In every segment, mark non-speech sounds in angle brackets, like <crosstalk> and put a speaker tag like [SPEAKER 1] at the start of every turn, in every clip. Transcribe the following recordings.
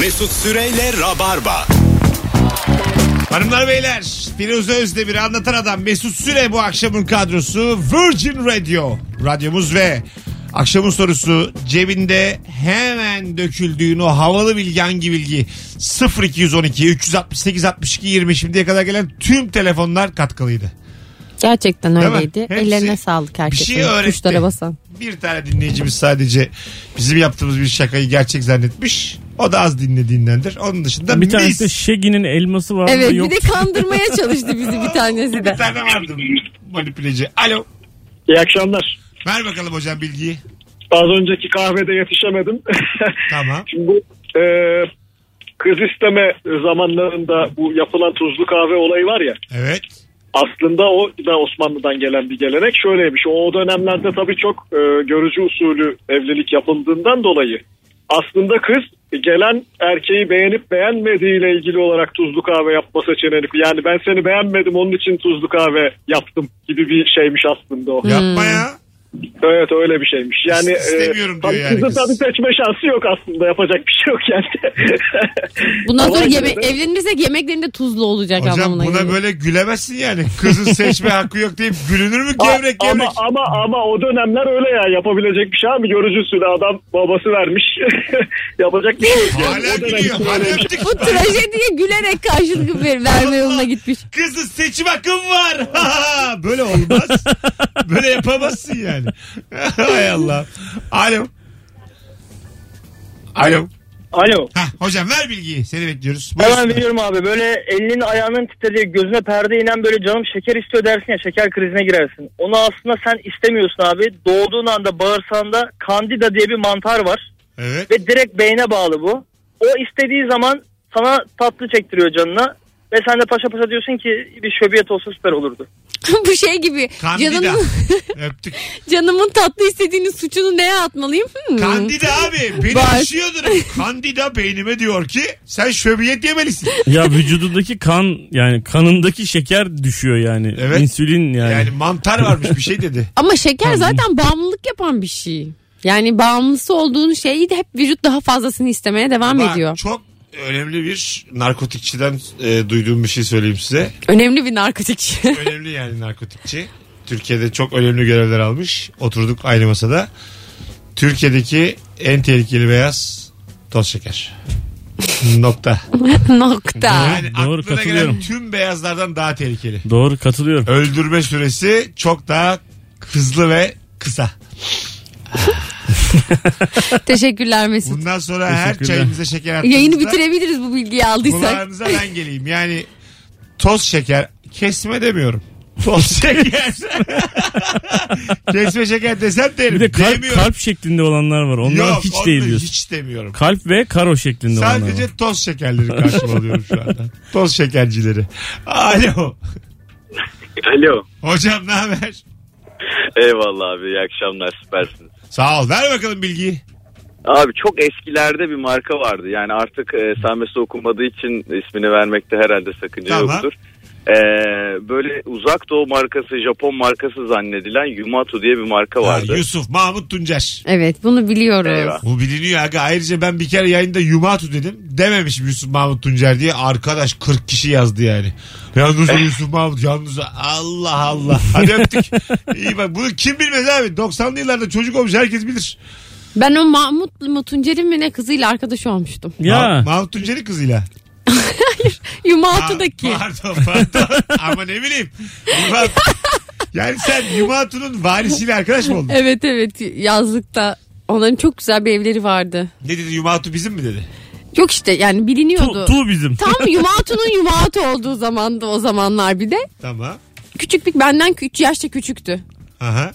[SPEAKER 1] Mesut Süreyle Rabarba.
[SPEAKER 2] Hanımlar beyler Firuze Özdemir anlatan adam Mesut Süre bu akşamın kadrosu Virgin Radio radyomuz ve akşamın sorusu cebinde hemen döküldüğün o havalı bilgi hangi bilgi 0212 368 62 20 şimdiye kadar gelen tüm telefonlar katkılıydı.
[SPEAKER 3] Gerçekten
[SPEAKER 2] Değil mi?
[SPEAKER 3] öyleydi.
[SPEAKER 2] Hepsi
[SPEAKER 3] Ellerine sağlık
[SPEAKER 2] Bir şey
[SPEAKER 3] herkese.
[SPEAKER 2] öğretti.
[SPEAKER 3] Tuşlara basan.
[SPEAKER 2] Bir tane dinleyicimiz sadece bizim yaptığımız bir şakayı gerçek zannetmiş. O da az dinlediğindendir. Onun dışında
[SPEAKER 4] Bir tanesi de
[SPEAKER 2] mis.
[SPEAKER 4] Şegi'nin elması var
[SPEAKER 3] Evet
[SPEAKER 4] mı yok.
[SPEAKER 3] bir de kandırmaya çalıştı bizi bir tanesi
[SPEAKER 2] <laughs>
[SPEAKER 3] de.
[SPEAKER 2] Bir tane vardı manipüleci. Alo.
[SPEAKER 5] İyi akşamlar.
[SPEAKER 2] Ver bakalım hocam bilgiyi.
[SPEAKER 5] Az önceki kahvede yetişemedim. <laughs>
[SPEAKER 2] Tamam.
[SPEAKER 5] Şimdi bu e, kız isteme zamanlarında bu yapılan tuzlu kahve olayı var ya.
[SPEAKER 2] Evet.
[SPEAKER 5] Aslında o da Osmanlı'dan gelen bir gelenek şöyleymiş. O dönemlerde tabii çok e, görücü usulü evlilik yapıldığından dolayı aslında kız gelen erkeği beğenip beğenmediğiyle ilgili olarak tuzlu kahve yapma seçeneği. Yani ben seni beğenmedim onun için tuzlu kahve yaptım gibi bir şeymiş aslında o.
[SPEAKER 2] Yapma
[SPEAKER 3] Hmm.
[SPEAKER 2] ya.
[SPEAKER 5] Evet öyle bir şeymiş. Yani
[SPEAKER 2] İstemiyorum diyor
[SPEAKER 5] tabii
[SPEAKER 2] yani
[SPEAKER 5] Kızın
[SPEAKER 2] kız.
[SPEAKER 5] tabii seçme şansı yok aslında. Yapacak bir şey yok yani.
[SPEAKER 3] <laughs> Bundan
[SPEAKER 5] Ama
[SPEAKER 3] sonra yeme-
[SPEAKER 5] yine de-
[SPEAKER 3] evlenirsek yemeklerinde tuzlu olacak
[SPEAKER 2] Hocam
[SPEAKER 3] anlamına
[SPEAKER 2] buna <laughs>
[SPEAKER 3] geliyor.
[SPEAKER 2] böyle gülemezsin yani. Kızın seçme hakkı yok deyip gülünür
[SPEAKER 3] <laughs>
[SPEAKER 2] mü gevrek gevrek?
[SPEAKER 5] ama, ama ama o dönemler öyle ya. Yapabilecek bir şey abi. Görücüsü de adam babası vermiş. <laughs> Yapacak bir şey yok. yani.
[SPEAKER 2] Hala
[SPEAKER 5] O dönem-
[SPEAKER 2] gülüyor. Hala öptük.
[SPEAKER 3] Bu trajediye gülerek karşılık ver- verme yoluna gitmiş. <laughs>
[SPEAKER 2] Kızın seçim hakkım var. <laughs> Böyle olmaz. Böyle yapamazsın yani. <laughs> Hay Allah. Alo. Alo.
[SPEAKER 6] Alo.
[SPEAKER 2] Hah, hocam ver bilgiyi. Seni bekliyoruz.
[SPEAKER 6] Hemen
[SPEAKER 2] Buyursunlar.
[SPEAKER 6] veriyorum abi. Böyle elinin ayağının titrediği gözüne perde inen böyle canım şeker istiyor dersin ya şeker krizine girersin. Onu aslında sen istemiyorsun abi. Doğduğun anda bağırsağında kandida diye bir mantar var.
[SPEAKER 2] Evet.
[SPEAKER 6] Ve direkt beyne bağlı bu. O istediği zaman sana tatlı çektiriyor canına. Ve sen de paşa paşa diyorsun ki bir şöbiyet olsa süper olurdu.
[SPEAKER 3] Bu şey gibi.
[SPEAKER 2] Kandida.
[SPEAKER 3] Canımın,
[SPEAKER 2] <laughs> Öptük.
[SPEAKER 3] canımın tatlı istediğini suçunu neye atmalıyım? Hmm.
[SPEAKER 2] Kandida abi. Beni
[SPEAKER 3] Var.
[SPEAKER 2] aşıyordur. Kandida beynime diyor ki sen şöbiyet yemelisin.
[SPEAKER 4] Ya vücudundaki kan yani kanındaki şeker düşüyor yani.
[SPEAKER 2] Evet.
[SPEAKER 4] İnsülin yani.
[SPEAKER 2] Yani mantar varmış bir şey dedi.
[SPEAKER 3] Ama şeker zaten bağımlılık yapan bir şey. Yani bağımlısı olduğun şeyi de hep vücut daha fazlasını istemeye devam
[SPEAKER 2] Bak,
[SPEAKER 3] ediyor.
[SPEAKER 2] Çok önemli bir narkotikçiden e, duyduğum bir şey söyleyeyim size. <laughs>
[SPEAKER 3] Önemli bir narkotik. şey.
[SPEAKER 2] önemli yani narkotikçi. Türkiye'de çok önemli görevler almış. Oturduk aynı masada. Türkiye'deki en tehlikeli beyaz toz <laughs> şeker. Nokta.
[SPEAKER 3] <laughs> Nokta.
[SPEAKER 2] Yani
[SPEAKER 4] Doğru,
[SPEAKER 2] aklına gelen
[SPEAKER 4] katılıyorum.
[SPEAKER 2] tüm beyazlardan daha tehlikeli.
[SPEAKER 4] Doğru katılıyorum.
[SPEAKER 2] Öldürme süresi çok daha hızlı ve kısa.
[SPEAKER 3] Teşekkürler Mesut.
[SPEAKER 2] Bundan sonra her
[SPEAKER 4] Teşekkürler.
[SPEAKER 2] çayımıza şeker attığımızda
[SPEAKER 3] Yayını bitirebiliriz bu bilgiyi aldıysak.
[SPEAKER 2] kulağınıza ben geleyim. Yani toz şeker kesme demiyorum. Toz
[SPEAKER 4] <laughs>
[SPEAKER 2] şeker. Kesme şeker desem derim.
[SPEAKER 4] Bir de kalp,
[SPEAKER 2] demiyorum.
[SPEAKER 4] kalp şeklinde olanlar var. Onlar
[SPEAKER 2] Yok,
[SPEAKER 4] hiç
[SPEAKER 2] onu
[SPEAKER 4] değil diyorsun.
[SPEAKER 2] Hiç demiyorum.
[SPEAKER 4] Kalp ve karo şeklinde olanlar var.
[SPEAKER 2] Sadece toz şekerleri karşıma alıyorum şu anda. Toz şekercileri. Alo.
[SPEAKER 7] Alo.
[SPEAKER 2] Hocam ne haber?
[SPEAKER 7] Eyvallah abi iyi akşamlar süpersiniz.
[SPEAKER 2] Sağ ol. Ver bakalım bilgiyi.
[SPEAKER 7] Abi çok eskilerde bir marka vardı. Yani artık e, Sami'si okunmadığı için ismini vermekte herhalde sakınca
[SPEAKER 2] Tamam.
[SPEAKER 7] yoktur. E, böyle uzak doğu markası, Japon markası zannedilen Yumatu diye bir marka vardı.
[SPEAKER 2] Ha, Yusuf Mahmut Tuncer.
[SPEAKER 3] Evet bunu biliyoruz.
[SPEAKER 7] Eyvah.
[SPEAKER 2] Bu biliniyor aga. Ayrıca ben bir kere yayında Yumatu dedim. Dememişim Yusuf Mahmut Tuncer diye. Arkadaş 40 kişi yazdı yani. Yalnız o Yusuf Mahmut yalnız o. Allah Allah. Hadi öptük. İyi bak bunu kim bilmez abi. 90'lı yıllarda çocuk olmuş herkes bilir.
[SPEAKER 3] Ben o Mahmut mu Tuncer'in mi ne kızıyla arkadaş olmuştum. <laughs>
[SPEAKER 2] Ma-
[SPEAKER 4] Ya
[SPEAKER 2] Mahmut Tuncer'in kızıyla.
[SPEAKER 3] Yumatı'daki.
[SPEAKER 2] Pa- Pardon pardon. Ama ne bileyim. Yuma- Yani sen Yumatu'nun varisiyle arkadaş mı oldun?
[SPEAKER 3] Evet evet yazlıkta. Onların çok güzel bir evleri vardı.
[SPEAKER 2] Ne dedi Yumatu bizim mi dedi?
[SPEAKER 3] Yok işte yani biliniyordu.
[SPEAKER 4] tu, tu bizim.
[SPEAKER 3] Tam Yumatu'nun Yumatu olduğu zamandı o zamanlar bir de.
[SPEAKER 2] Tamam.
[SPEAKER 3] Küçüklük benden 3 yaşta küçüktü.
[SPEAKER 2] Aha.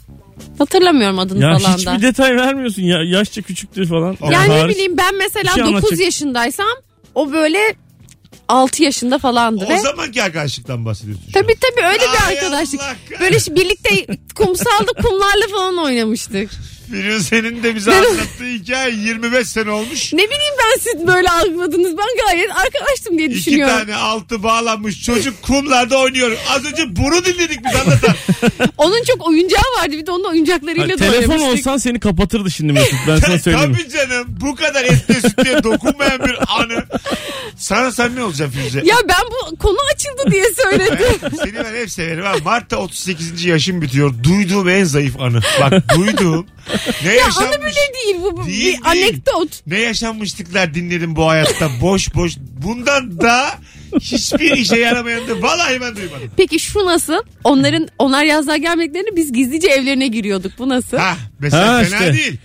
[SPEAKER 3] Hatırlamıyorum adını
[SPEAKER 4] <laughs> Ya
[SPEAKER 3] falan da.
[SPEAKER 4] hiçbir detay vermiyorsun. Ya, yaşça küçüktür falan.
[SPEAKER 2] Yani
[SPEAKER 3] Yani ne
[SPEAKER 4] Tarih-
[SPEAKER 3] bileyim ben
[SPEAKER 4] Bir
[SPEAKER 3] mesela
[SPEAKER 4] şey
[SPEAKER 3] 9
[SPEAKER 4] anlatacak.
[SPEAKER 3] yaşındaysam o böyle 6 yaşında falandı
[SPEAKER 2] O
[SPEAKER 3] ve
[SPEAKER 2] zamanki arkadaşlıktan bahsediyorsun. şu an.
[SPEAKER 3] Tabii tabii öyle bir
[SPEAKER 2] Ay
[SPEAKER 3] arkadaşlık.
[SPEAKER 2] Allah kahretsin.
[SPEAKER 3] Böyle işte birlikte kumsalda kumlarla falan oynamıştık.
[SPEAKER 2] Firuze'nin de bize anlattığı hikaye 25 sene olmuş.
[SPEAKER 3] Ne bileyim ben siz böyle algıladınız. Ben gayet arkadaştım diye
[SPEAKER 2] İki
[SPEAKER 3] düşünüyorum.
[SPEAKER 2] tane altı bağlanmış çocuk kumlarda oynuyor. Az önce bunu dinledik biz
[SPEAKER 4] <laughs>
[SPEAKER 2] anlatan.
[SPEAKER 3] Onun çok oyuncağı vardı. Bir de onun oyuncaklarıyla
[SPEAKER 4] Ha,
[SPEAKER 3] da
[SPEAKER 4] telefon
[SPEAKER 3] oynamıştık.
[SPEAKER 4] olsan seni kapatırdı şimdi Mesut. Ben sana
[SPEAKER 2] <laughs>
[SPEAKER 4] söyleyeyim.
[SPEAKER 2] Tabii canım bu kadar etliye sütlüye dokunmayan bir anı. Sana sen ne olacaksın Firuze?
[SPEAKER 3] Ya ben bu konu açıldı diye
[SPEAKER 2] <laughs>
[SPEAKER 3] söyledim.
[SPEAKER 2] Seni ben hep severim ha. Mart'ta 38. yaşım bitiyor. Duyduğum en zayıf anı. Bak duyduğum. Ne
[SPEAKER 3] ya
[SPEAKER 2] yaşanmış?
[SPEAKER 3] anı bile değil bu. bu
[SPEAKER 2] Değil, değil.
[SPEAKER 3] bir anekdot.
[SPEAKER 2] Ne yaşanmışlıklar dinledim bu hayatta boş boş. Bundan da hiçbir işe yaramayan da vallahi ben duymadım.
[SPEAKER 3] Peki şu nasıl? Onların onlar yazlığa gelmediklerini biz gizlice evlerine giriyorduk. Bu nasıl?
[SPEAKER 2] Ha mesela
[SPEAKER 4] Ha,
[SPEAKER 2] fena
[SPEAKER 4] işte.
[SPEAKER 2] değil.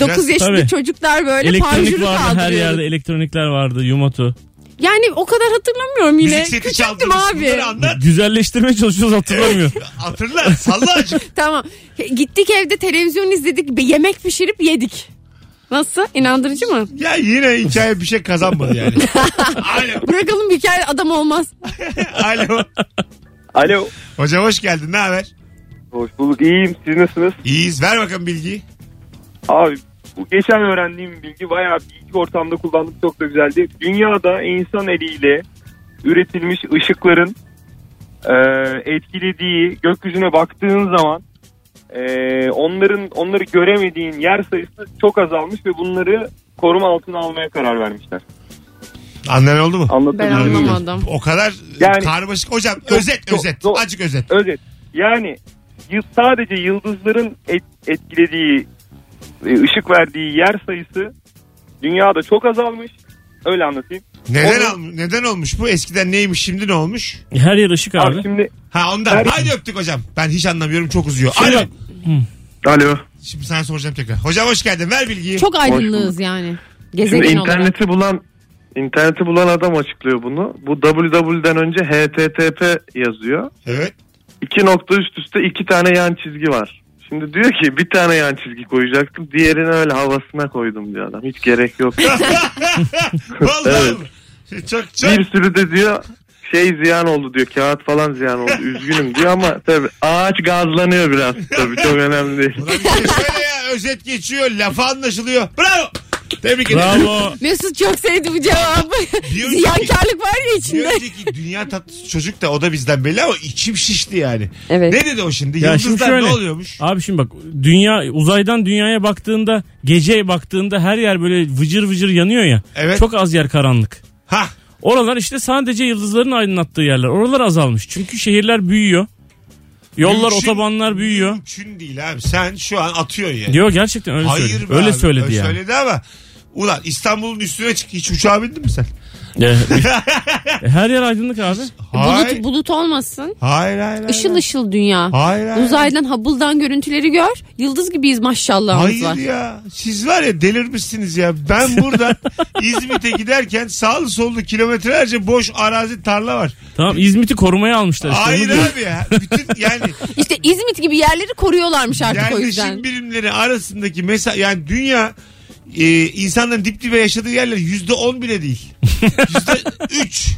[SPEAKER 3] 9
[SPEAKER 2] Biraz-
[SPEAKER 3] yaşında
[SPEAKER 4] Tabii.
[SPEAKER 3] çocuklar böyle
[SPEAKER 4] Elektronik
[SPEAKER 3] panjuru
[SPEAKER 4] vardı her yerde.
[SPEAKER 3] kaldırıyordu.
[SPEAKER 4] Elektronikler vardı. Yumatu.
[SPEAKER 3] Yani o kadar hatırlamıyorum yine.
[SPEAKER 2] Müzik seti
[SPEAKER 3] Küçüktüm
[SPEAKER 2] çaldınız.
[SPEAKER 3] abi.
[SPEAKER 2] Bunları anlat.
[SPEAKER 4] Güzelleştirmeye çalışıyoruz hatırlamıyor.
[SPEAKER 2] Hatırla salla
[SPEAKER 3] <laughs>
[SPEAKER 2] azıcık.
[SPEAKER 3] Tamam. Gittik evde televizyon izledik. Bir yemek pişirip yedik. Nasıl? İnandırıcı mı?
[SPEAKER 2] Ya yine hikaye bir şey kazanmadı yani.
[SPEAKER 3] <laughs>
[SPEAKER 2] Alo.
[SPEAKER 3] Bırakalım hikaye adam olmaz.
[SPEAKER 2] Alo.
[SPEAKER 8] Alo.
[SPEAKER 2] Hocam hoş geldin. Ne haber?
[SPEAKER 8] Hoş bulduk. İyiyim. Siz nasılsınız?
[SPEAKER 2] İyiyiz. Ver bakalım bilgiyi.
[SPEAKER 8] Abi bu geçen öğrendiğim bir bilgi bayağı bir ilk ortamda kullandım çok da güzeldi. Dünyada insan eliyle üretilmiş ışıkların e, etkilediği gökyüzüne baktığın zaman e, onların onları göremediğin yer sayısı çok azalmış ve bunları koruma altına almaya karar vermişler.
[SPEAKER 2] Anlayan oldu mu?
[SPEAKER 3] Ben
[SPEAKER 8] Anlatabiliyor muyum?
[SPEAKER 3] anlamadım.
[SPEAKER 2] O kadar
[SPEAKER 8] Yani-
[SPEAKER 2] karmaşık. Hocam
[SPEAKER 8] Çok-
[SPEAKER 2] özet
[SPEAKER 8] çok-
[SPEAKER 2] özet.
[SPEAKER 8] çok-
[SPEAKER 2] Azıcık özet.
[SPEAKER 8] Özet. Yani yıl- sadece yıldızların et- etkilediği e, ışık verdiği yer sayısı dünyada çok azalmış. Öyle anlatayım.
[SPEAKER 2] Neden,
[SPEAKER 8] Onu-
[SPEAKER 2] al- neden olmuş bu? Eskiden neymiş şimdi ne olmuş?
[SPEAKER 4] Her yer ışık
[SPEAKER 8] Abi,
[SPEAKER 4] abi.
[SPEAKER 8] şimdi
[SPEAKER 2] Ha ondan.
[SPEAKER 8] Her-
[SPEAKER 2] Haydi öptük hocam. Ben hiç anlamıyorum çok uzuyor.
[SPEAKER 3] Şey
[SPEAKER 4] Şimdi
[SPEAKER 2] Alo.
[SPEAKER 4] bak-
[SPEAKER 9] Alo.
[SPEAKER 2] Şimdi sana soracağım tekrar. Hocam hoş geldin. Ver bilgiyi.
[SPEAKER 3] Çok aydınlığız yani.
[SPEAKER 9] Şimdi
[SPEAKER 3] Gezegen olarak.
[SPEAKER 9] interneti bulan interneti bulan adam açıklıyor bunu. Bu www'den önce http yazıyor.
[SPEAKER 2] Evet.
[SPEAKER 9] İki nokta üst üste iki tane yan çizgi var. Şimdi diyor ki bir tane yan çizgi koyacaktım. Diğerini öyle havasına koydum diyor adam. Hiç gerek yok.
[SPEAKER 2] Vallahi. Çok çok.
[SPEAKER 9] bir sürü de diyor şey ziyan oldu diyor. Kağıt falan ziyan oldu. Üzgünüm diyor ama tabii ağaç gazlanıyor biraz. Tabii çok önemli değil.
[SPEAKER 2] Ulan işte şöyle ya özet geçiyor. Lafı anlaşılıyor. Bravo. Tebrik ederim.
[SPEAKER 4] Bravo.
[SPEAKER 3] Mesut çok sevdi bu cevabı.
[SPEAKER 2] Bir önceki-
[SPEAKER 3] Ziyankarlık var ya
[SPEAKER 2] Bir
[SPEAKER 3] içinde.
[SPEAKER 2] önceki dünya tatlısı çocuk da o da bizden belli ama içim şişti yani.
[SPEAKER 3] Evet.
[SPEAKER 2] Ne dedi o şimdi?
[SPEAKER 4] Ya şimdi
[SPEAKER 2] Yıldızlar ne
[SPEAKER 4] şöyle.
[SPEAKER 2] oluyormuş?
[SPEAKER 4] Abi şimdi bak dünya uzaydan dünyaya baktığında gece baktığında her yer böyle vıcır vıcır yanıyor ya.
[SPEAKER 2] Evet.
[SPEAKER 4] Çok az yer karanlık.
[SPEAKER 2] Ha.
[SPEAKER 4] Oralar işte sadece yıldızların aydınlattığı yerler. Oralar azalmış. Çünkü şehirler büyüyor. Yollar,
[SPEAKER 2] Mümkün-
[SPEAKER 4] otobanlar büyüyor.
[SPEAKER 2] Mümkün değil abi. Sen şu an atıyorsun yani.
[SPEAKER 4] Diyor gerçekten öyle
[SPEAKER 2] Hayır
[SPEAKER 4] söyledi.
[SPEAKER 2] be
[SPEAKER 4] Öyle
[SPEAKER 2] abi,
[SPEAKER 4] söyledi
[SPEAKER 2] öyle
[SPEAKER 4] yani.
[SPEAKER 2] söyledi ama ulan İstanbul'un üstüne çık. Hiç uçağa bindin mi sen? <laughs>
[SPEAKER 4] E, Her yer aydınlık abi.
[SPEAKER 2] Hayır.
[SPEAKER 3] Bulut, bulut olmasın.
[SPEAKER 2] Hayır hayır.
[SPEAKER 3] Işıl
[SPEAKER 2] hayır.
[SPEAKER 3] ışıl dünya.
[SPEAKER 2] Hayır hayır.
[SPEAKER 3] Uzaydan Hubble'dan görüntüleri gör. Yıldız gibiyiz maşallahımız
[SPEAKER 2] Hayır
[SPEAKER 3] var.
[SPEAKER 2] ya. Siz var ya delirmişsiniz ya. Ben
[SPEAKER 3] <laughs>
[SPEAKER 2] burada İzmit'e giderken sağlı sollu kilometrelerce boş arazi tarla var.
[SPEAKER 4] Tamam İzmit'i korumaya almışlar işte.
[SPEAKER 2] Hayır
[SPEAKER 4] Onu diyor.
[SPEAKER 2] abi ya. Bütün yani
[SPEAKER 3] İşte İzmit gibi yerleri koruyorlarmış <laughs> artık o yüzden.
[SPEAKER 2] yerleşim birimleri arasındaki mesela yani dünya e, insanların dip dibe yaşadığı yerler yüzde on bile
[SPEAKER 3] <laughs>
[SPEAKER 2] değil. Yüzde üç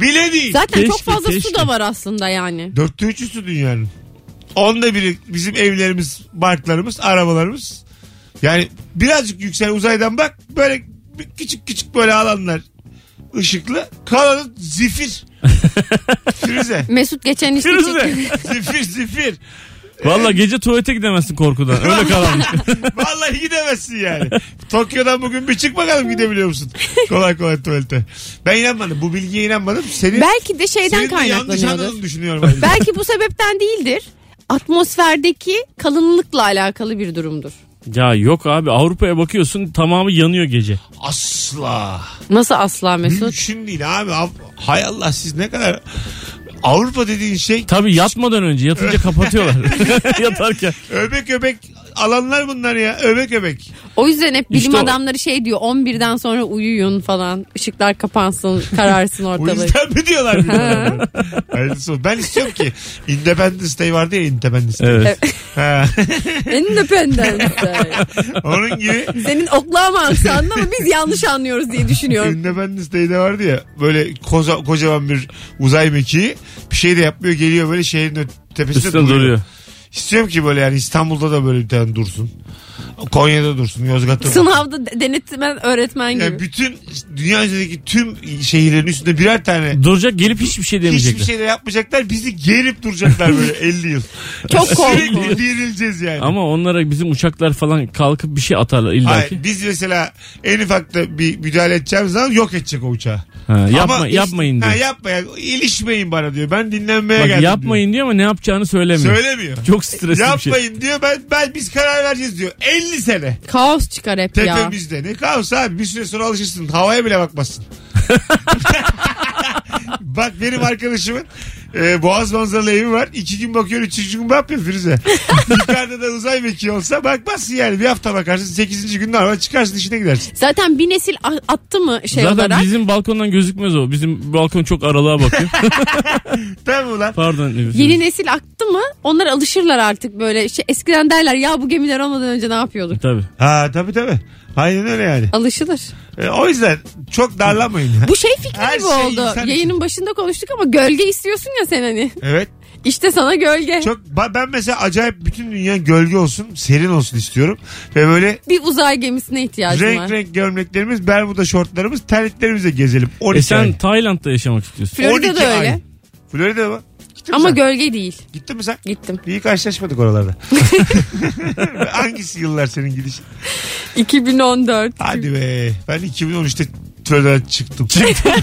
[SPEAKER 2] bile değil.
[SPEAKER 3] Zaten çok
[SPEAKER 4] Keşke,
[SPEAKER 3] fazla su
[SPEAKER 4] keşke.
[SPEAKER 3] da var aslında yani.
[SPEAKER 2] Dörtte üçüsü dünyanın. Onda biri bizim evlerimiz, barklarımız, arabalarımız. Yani birazcık yüksel uzaydan bak böyle bir küçük küçük böyle alanlar ışıklı. Kalanı zifir. Firuze.
[SPEAKER 3] Mesut geçen işte
[SPEAKER 4] Firuze.
[SPEAKER 3] çekildi.
[SPEAKER 2] Zifir zifir.
[SPEAKER 4] Valla gece tuvalete gidemezsin korkudan.
[SPEAKER 2] <laughs>
[SPEAKER 4] Öyle karanlık.
[SPEAKER 2] Vallahi gidemezsin yani. Tokyo'dan bugün bir çık bakalım gidebiliyor musun? Kolay kolay tuvalete. Ben inanmadım. Bu bilgiye inanmadım. Senin,
[SPEAKER 3] Belki de
[SPEAKER 2] senin
[SPEAKER 3] şeyden
[SPEAKER 2] de yanlış
[SPEAKER 3] kaynaklanıyordur.
[SPEAKER 2] anladığını düşünüyorum.
[SPEAKER 3] Belki bu sebepten değildir. Atmosferdeki kalınlıkla alakalı bir durumdur.
[SPEAKER 4] ya yok abi Avrupa'ya bakıyorsun tamamı yanıyor gece.
[SPEAKER 2] Asla.
[SPEAKER 3] Nasıl asla Mesut?
[SPEAKER 2] Mümkün değil abi. Av- Hay Allah siz ne kadar Avrupa dediğin şey
[SPEAKER 4] Tabii yatmadan önce yatınca kapatıyorlar. Yatarken.
[SPEAKER 2] öbek öbek alanlar bunlar ya. Övek övek.
[SPEAKER 3] O yüzden hep bilim
[SPEAKER 4] İşte o.
[SPEAKER 3] adamları şey diyor 11'den sonra uyuyun falan. Işıklar kapansın,
[SPEAKER 2] <laughs>
[SPEAKER 3] kararsın
[SPEAKER 2] O
[SPEAKER 3] ortalık.
[SPEAKER 2] yüzden mi diyorlar? bilmiyorum. Hayırlısı olsun. ben istiyorum ki Independence Day vardı ya Independence Day.
[SPEAKER 4] Evet.
[SPEAKER 2] Ha,
[SPEAKER 3] Independence.
[SPEAKER 2] onun gibi
[SPEAKER 3] Senin oklama aksanın ama biz yanlış anlıyoruz diye düşünüyorum.
[SPEAKER 2] Independence Day'de vardı ya böyle koza, kocaman bir uzay mekiği bir şey de yapmıyor geliyor böyle şehrin ö- tepesinde
[SPEAKER 4] Üstüne
[SPEAKER 2] duruyor.
[SPEAKER 4] duruyor.
[SPEAKER 2] İstiyorum ki böyle yani İstanbul'da da böyle bir tane dursun. Konya'da dursun, Yozgat'ta dursun.
[SPEAKER 3] Sınavda de- denetmen öğretmen gibi.
[SPEAKER 2] Yani bütün dünya üzerindeki tüm şehirlerin üstünde birer tane
[SPEAKER 4] Duracak gelip hiçbir şey demeyecekler.
[SPEAKER 2] hiçbir şey de yapmayacaklar. Bizi gerip duracaklar
[SPEAKER 4] <laughs>
[SPEAKER 2] böyle 50 yıl. <laughs>
[SPEAKER 3] Çok
[SPEAKER 2] Şey
[SPEAKER 3] korkunç.
[SPEAKER 2] Sürekli dirileceğiz yani.
[SPEAKER 4] Ama onlara bizim uçaklar falan kalkıp bir şey atarlar
[SPEAKER 2] Hayır,
[SPEAKER 4] illaki.
[SPEAKER 2] biz mesela en ufakta bir müdahale edeceğimiz zaman yok edecek o uçağı.
[SPEAKER 4] Ha, yapma,
[SPEAKER 2] Ama-
[SPEAKER 4] yapmayın
[SPEAKER 2] Ha,
[SPEAKER 4] diyor.
[SPEAKER 2] yapma ya. İlişmeyin bana diyor. Ben dinlenmeye
[SPEAKER 4] Bak
[SPEAKER 2] geldim
[SPEAKER 4] yapmayın diyor ama ne yapacağını
[SPEAKER 2] diyor.
[SPEAKER 4] söylemiyor.
[SPEAKER 2] Söylemiyor.
[SPEAKER 4] Çok stresli bir şey.
[SPEAKER 2] Yapmayın diyor. Ben, ben biz karar vereceğiz diyor. 50 sene
[SPEAKER 3] Kaos çıkar hep ya.
[SPEAKER 2] tepemizde. Ne kaos abi. Bir süre sonra alışırsın. Havaya bile <laughs> bakmazsın. Bak benim arkadaşımın e, Boğaz manzaralı evi var. İki gün bakıyor, üçüncü gün bakmıyor <laughs> Firuze. Yukarıda da uzay mekiği olsa bakmazsın yani. Bir hafta bakarsın, sekizinci günde araba çıkarsın işine gidersin.
[SPEAKER 3] Zaten bir nesil a- attı mı şey
[SPEAKER 4] Zaten
[SPEAKER 3] olarak?
[SPEAKER 4] bizim balkondan gözükmez o. Bizim balkon çok aralığa bakıyor.
[SPEAKER 2] Tamam mı lan?
[SPEAKER 4] Pardon. Nefes.
[SPEAKER 3] Yeni nesil aktı mı onlar alışırlar artık böyle. İşte eskiden derler ya bu gemiler olmadan önce ne yapıyorduk?
[SPEAKER 4] Tabii. E
[SPEAKER 2] Ha tabii tabii. Aynen öyle yani.
[SPEAKER 3] Alışılır.
[SPEAKER 2] E, o yüzden çok darlanmayın. ya.
[SPEAKER 3] Bu şey fikri
[SPEAKER 2] Her
[SPEAKER 3] gibi
[SPEAKER 2] şey
[SPEAKER 3] oldu.
[SPEAKER 2] insan
[SPEAKER 3] Yayının başında konuştuk ama gölge istiyorsun ya sen hani.
[SPEAKER 2] Evet.
[SPEAKER 3] İşte sana gölge.
[SPEAKER 2] Çok ba- ben mesela acayip bütün dünya gölge olsun, serin olsun istiyorum ve böyle
[SPEAKER 3] Bir uzay gemisine ihtiyacım var.
[SPEAKER 2] renk renk gömleklerimiz, bermuda şortlarımız, terliklerimizle gezelim. 12
[SPEAKER 4] E sen
[SPEAKER 2] ay.
[SPEAKER 4] Tayland'da yaşamak istiyorsun.
[SPEAKER 3] Florida
[SPEAKER 2] 12
[SPEAKER 3] da öyle.
[SPEAKER 2] ay. Florida mı? Gittin mi
[SPEAKER 3] Ama
[SPEAKER 2] sen?
[SPEAKER 3] gölge değil.
[SPEAKER 2] Gittin mi sen?
[SPEAKER 3] Gittim.
[SPEAKER 2] İyi karşılaşmadık
[SPEAKER 3] <laughs>
[SPEAKER 2] oralarda. Hangisi yıllar senin gidişin?
[SPEAKER 3] 2014.
[SPEAKER 2] Hadi be. Ben 2013'te Florida'dan çıktım. Çıktım. <laughs>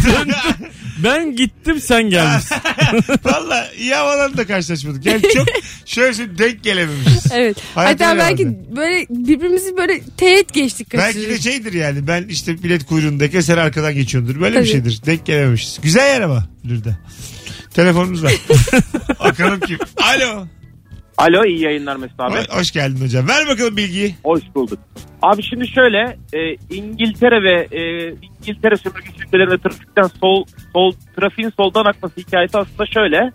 [SPEAKER 4] Ben gittim sen gelmişsin.
[SPEAKER 2] Valla iyi havalarla da karşılaşmadık. Yani
[SPEAKER 3] <laughs>
[SPEAKER 2] çok şöyle söyleyeyim denk gelememişiz.
[SPEAKER 3] Evet.
[SPEAKER 2] Hayat
[SPEAKER 3] Hatta
[SPEAKER 2] öyle
[SPEAKER 3] belki
[SPEAKER 2] herhalde.
[SPEAKER 3] böyle birbirimizi böyle teğet geçtik
[SPEAKER 2] Belki de
[SPEAKER 3] kaçırırız.
[SPEAKER 2] şeydir yani ben işte bilet kuyruğundaki sen arkadan geçiyordur. Böyle bir
[SPEAKER 3] Tabii.
[SPEAKER 2] şeydir. Denk gelememişiz. Güzel yer ama Lür'de. Telefonumuz
[SPEAKER 3] <laughs>
[SPEAKER 2] var. bakalım kim? Alo.
[SPEAKER 8] Alo iyi yayınlar Mesut abi.
[SPEAKER 2] Ho- Hoş geldin hocam. Ver bakalım bilgiyi.
[SPEAKER 8] Hoş bulduk. Abi şimdi şöyle e, İngiltere ve e, İngiltere sömürgesi ülkelerinde trafikten sol, sol trafiğin soldan akması hikayesi aslında şöyle.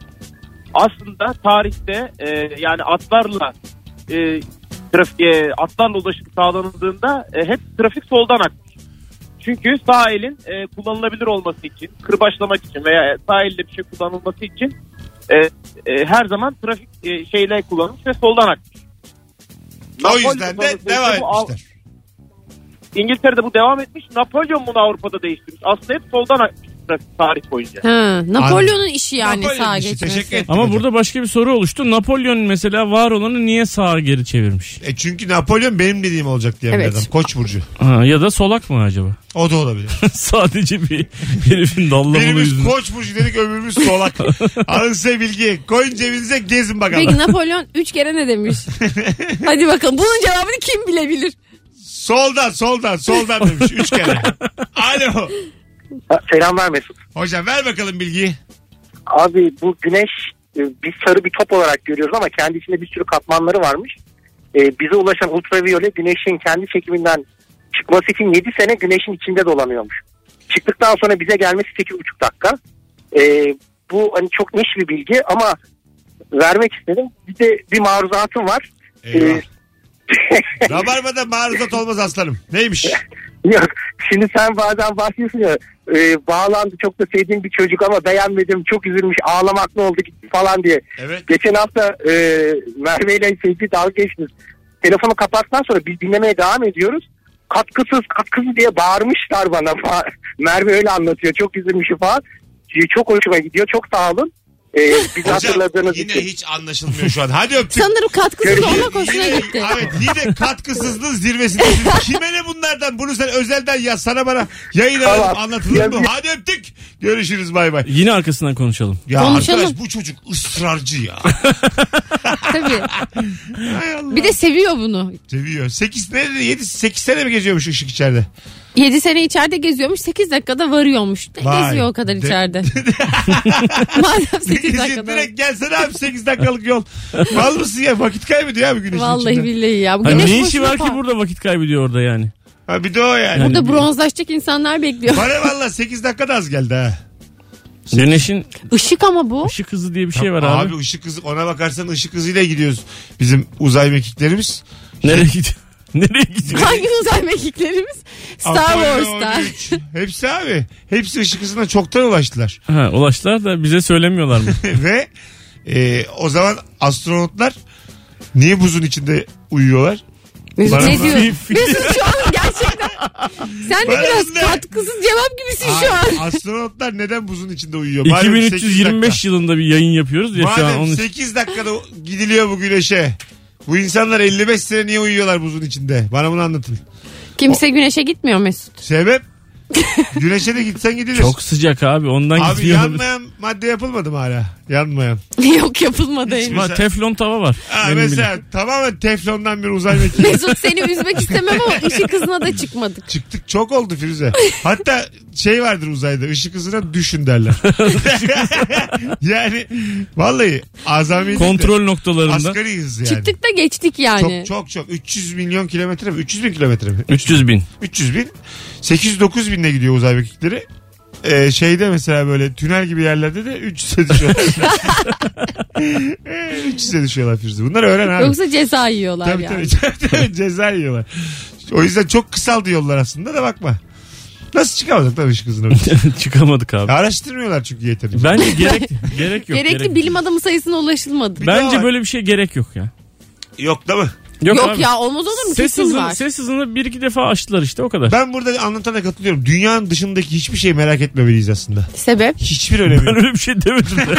[SPEAKER 8] Aslında tarihte e, yani atlarla e, trafiğe atlarla ulaşım sağlanıldığında e, hep trafik soldan akmış. Çünkü sağ elin e, kullanılabilir olması için, kırbaçlamak için veya sağ elle bir şey kullanılması için e, e, her zaman trafik e, şeyle kullanılmış ve soldan akmış.
[SPEAKER 2] O
[SPEAKER 8] Napolyon
[SPEAKER 2] yüzden de
[SPEAKER 8] sonrasında
[SPEAKER 2] devam
[SPEAKER 8] işte bu Av-
[SPEAKER 2] etmişler.
[SPEAKER 8] İngiltere'de bu devam etmiş. Napolyon bunu Avrupa'da değiştirmiş. Aslında hep soldan akmış trafik tarih boyunca.
[SPEAKER 3] Ha, Napolyon'un işi yani
[SPEAKER 2] Napolyon
[SPEAKER 3] sağa
[SPEAKER 2] işi.
[SPEAKER 3] geçmesi.
[SPEAKER 2] Teşekkür ettim
[SPEAKER 4] Ama
[SPEAKER 2] hocam.
[SPEAKER 4] burada başka bir soru oluştu. Napolyon mesela var olanı niye sağa geri çevirmiş?
[SPEAKER 2] E çünkü Napolyon benim dediğim olacak diye
[SPEAKER 3] Evet.
[SPEAKER 2] bir adam. Koç burcu.
[SPEAKER 4] Ha, ya da solak mı acaba? <laughs>
[SPEAKER 2] O da olabilir.
[SPEAKER 4] Sadece bir herifin dallamalı
[SPEAKER 2] Birimiz
[SPEAKER 4] yüzünden.
[SPEAKER 2] koç burcu dedik öbürümüz
[SPEAKER 4] <laughs>
[SPEAKER 2] solak. Alın size bilgi. Koyun cebinize gezin bakalım.
[SPEAKER 3] Peki Napolyon 3 kere
[SPEAKER 2] <laughs>
[SPEAKER 3] ne demiş? Hadi bakalım bunun cevabını kim bilebilir?
[SPEAKER 2] Soldan soldan soldan demiş. Üç kere. Alo.
[SPEAKER 6] Selamlar Mesut.
[SPEAKER 2] Hocam ver bakalım bilgiyi.
[SPEAKER 6] Abi bu güneş e, biz sarı bir top olarak görüyoruz ama kendi içinde bir sürü katmanları varmış. E, bize ulaşan ultraviyole güneşin kendi çekiminden çıkması için 7 sene güneşin içinde dolanıyormuş. Çıktıktan sonra bize gelmesi 8,5 dakika. E, bu hani çok niş bir bilgi ama vermek istedim. Bir de bir maruzatım var.
[SPEAKER 2] Eyvah.
[SPEAKER 6] E,
[SPEAKER 2] Rabarba'da maruzat olmaz aslanım. Neymiş?
[SPEAKER 6] Yok şimdi sen bazen bahsediyorsun ya e, bağlandı çok da sevdiğim bir çocuk ama beğenmedim çok üzülmüş ağlamaklı oldu gitti falan diye.
[SPEAKER 2] Evet.
[SPEAKER 6] Geçen hafta e, Merve ile sevgili dalga geçtiniz. Telefonu kapattıktan sonra biz dinlemeye devam ediyoruz. Katkısız katkısız diye bağırmışlar bana. <laughs> falan. Merve öyle anlatıyor çok üzülmüşüm falan. Şey, Çok hoşuma gidiyor çok sağ olun. E, bizi
[SPEAKER 2] Hocam
[SPEAKER 6] hatırladığınız
[SPEAKER 2] yine
[SPEAKER 6] için.
[SPEAKER 2] hiç anlaşılmıyor şu an. Hadi öptük.
[SPEAKER 3] Sanırım katkısız
[SPEAKER 6] Görüşürüz.
[SPEAKER 3] olmak hoşuna
[SPEAKER 2] Yine-
[SPEAKER 3] gitti.
[SPEAKER 2] Evet yine katkısızlığın zirvesindesiniz. Kime ne bunlardan? Bunu sen özelden yaz sana bana. Yayın
[SPEAKER 6] Tamam.
[SPEAKER 2] alalım anlatılır mı?
[SPEAKER 6] Yazın.
[SPEAKER 2] Hadi öptük. Görüşürüz bay bay.
[SPEAKER 4] Yine arkasından konuşalım.
[SPEAKER 2] Ya
[SPEAKER 3] Konuşalım.
[SPEAKER 2] arkadaş bu çocuk ısrarcı ya.
[SPEAKER 3] Tabii.
[SPEAKER 2] Hay Allah.
[SPEAKER 3] Bir de seviyor bunu. <laughs>
[SPEAKER 2] Seviyor. 8 ne dedi? 7 8 sene mi geziyormuş ışık içeride?
[SPEAKER 3] 7 sene içeride geziyormuş 8 dakikada varıyormuş. Ne
[SPEAKER 2] Vay.
[SPEAKER 3] geziyor o kadar
[SPEAKER 2] De-
[SPEAKER 3] içeride? Madem 8
[SPEAKER 2] Birisi
[SPEAKER 3] dakikada.
[SPEAKER 2] direkt gelsene abi 8 dakikalık yol. Mal mısın ya vakit kaybediyor abi güneşin
[SPEAKER 3] Vallahi
[SPEAKER 2] içinde.
[SPEAKER 3] billahi ya. Bu
[SPEAKER 4] Hani
[SPEAKER 3] güneş
[SPEAKER 4] ne işi
[SPEAKER 3] boşuna
[SPEAKER 4] var ki
[SPEAKER 3] falan.
[SPEAKER 4] burada vakit kaybediyor orada yani.
[SPEAKER 2] Ha bir de o yani.
[SPEAKER 3] Burada bronzlaşacak insanlar bekliyor.
[SPEAKER 2] Bana valla 8 dakika da az geldi ha. Şey-
[SPEAKER 4] Güneşin
[SPEAKER 3] Işık ama bu.
[SPEAKER 4] ışık hızı diye bir şey var abi.
[SPEAKER 2] ışık hızı ona bakarsan ışık hızıyla gidiyoruz bizim uzay mekiklerimiz.
[SPEAKER 4] Nereye gidiyor? <laughs> Nereye
[SPEAKER 2] <laughs>
[SPEAKER 4] gidiyor?
[SPEAKER 3] Hangi uzay mekiklerimiz? Star
[SPEAKER 2] Apollo
[SPEAKER 3] Wars'ta.
[SPEAKER 2] 13. Hepsi abi. Hepsi ışık hızına çoktan ulaştılar. <laughs>
[SPEAKER 4] Ha, ulaştılar da bize söylemiyorlar mı?
[SPEAKER 2] Ve e, o zaman astronotlar niye buzun içinde uyuyorlar?
[SPEAKER 3] Mesut
[SPEAKER 2] Bana
[SPEAKER 3] ne
[SPEAKER 2] bak.
[SPEAKER 3] diyor?
[SPEAKER 4] Fif.
[SPEAKER 3] Mesut şu an gerçekten. Sen de
[SPEAKER 2] Bana
[SPEAKER 3] biraz
[SPEAKER 2] ne?
[SPEAKER 3] katkısız cevap gibisin şu an.
[SPEAKER 2] Abi, astronotlar neden buzun içinde uyuyor? Malum
[SPEAKER 4] 2325 yılında bir yayın yapıyoruz ya
[SPEAKER 2] dakika.
[SPEAKER 4] şu an.
[SPEAKER 2] şey Madem şey-
[SPEAKER 4] Onun...
[SPEAKER 2] 8 dakikada gidiliyor bu güneşe. Bu insanlar 55 sene niye uyuyorlar buzun içinde? Bana bunu anlatın.
[SPEAKER 3] Kimse güneşe gitmiyor Mesut.
[SPEAKER 2] Sebep? güneşe de gitsen gidilir.
[SPEAKER 4] Çok sıcak abi ondan
[SPEAKER 2] Abi
[SPEAKER 4] gidiyor. <laughs> olabilir.
[SPEAKER 2] yanmayan madde yapılmadı mı hala? Yanmayan.
[SPEAKER 3] Yok yapılmadı henüz.
[SPEAKER 4] Ama teflon tava var.
[SPEAKER 2] şey. Ha,
[SPEAKER 4] Benim
[SPEAKER 2] mesela
[SPEAKER 4] bildiğim.
[SPEAKER 2] tamamen teflondan bir uzay mekiği.
[SPEAKER 3] Mesut seni üzmek istemem ama ışık hızına da çıkmadık.
[SPEAKER 2] Çıktık çok oldu Firuze. Hatta şey vardır uzayda ışık hızına düşün derler. <laughs> yani vallahi azami değil de
[SPEAKER 4] Kontrol noktalarında. <laughs>
[SPEAKER 2] asgari hız yani.
[SPEAKER 3] Çıktık hani. da geçtik yani.
[SPEAKER 2] Çok çok çok. 300 milyon kilometre mi? 300 bin kilometre mi?
[SPEAKER 4] 300 bin. <laughs>
[SPEAKER 2] 300 bin. 800-9 binle gidiyor uzay mekikleri. Ee, şeyde mesela böyle tünel gibi yerlerde de 300'e düşüyorlar. <laughs> Ee, 300'e düşüyorlar Firuze. Bunları öğren abi.
[SPEAKER 3] Yoksa ceza yiyorlar
[SPEAKER 2] Tabii,
[SPEAKER 3] yani.
[SPEAKER 2] tabii, tabii, <laughs> tabii. ceza yiyorlar. O yüzden çok kısaldı yollar aslında da bakma. Nasıl çıkamayacak tabii ışık <laughs> hızına?
[SPEAKER 4] Çıkamadık abi.
[SPEAKER 2] Araştırmıyorlar çünkü yeterince.
[SPEAKER 4] Bence gerek gerek yok.
[SPEAKER 3] Gerekli
[SPEAKER 4] gerek-
[SPEAKER 3] bilim adamı sayısına ulaşılmadı.
[SPEAKER 2] Bir daha
[SPEAKER 4] Bence
[SPEAKER 2] var.
[SPEAKER 4] böyle bir şey gerek yok ya.
[SPEAKER 2] Yok değil mi?
[SPEAKER 4] Yok,
[SPEAKER 3] Yok
[SPEAKER 4] abi.
[SPEAKER 3] ya olmaz olur mu?
[SPEAKER 4] Ses
[SPEAKER 3] Kesin
[SPEAKER 4] hızını,
[SPEAKER 3] var.
[SPEAKER 4] ses hızını bir iki defa aştılar işte o kadar.
[SPEAKER 2] Ben burada anlatana katılıyorum. Dünyanın dışındaki hiçbir şey merak etmemeliyiz aslında. <laughs>
[SPEAKER 3] Sebep?
[SPEAKER 2] Hiçbir önemi
[SPEAKER 4] Ben
[SPEAKER 2] yok.
[SPEAKER 4] öyle bir şey demedim. de.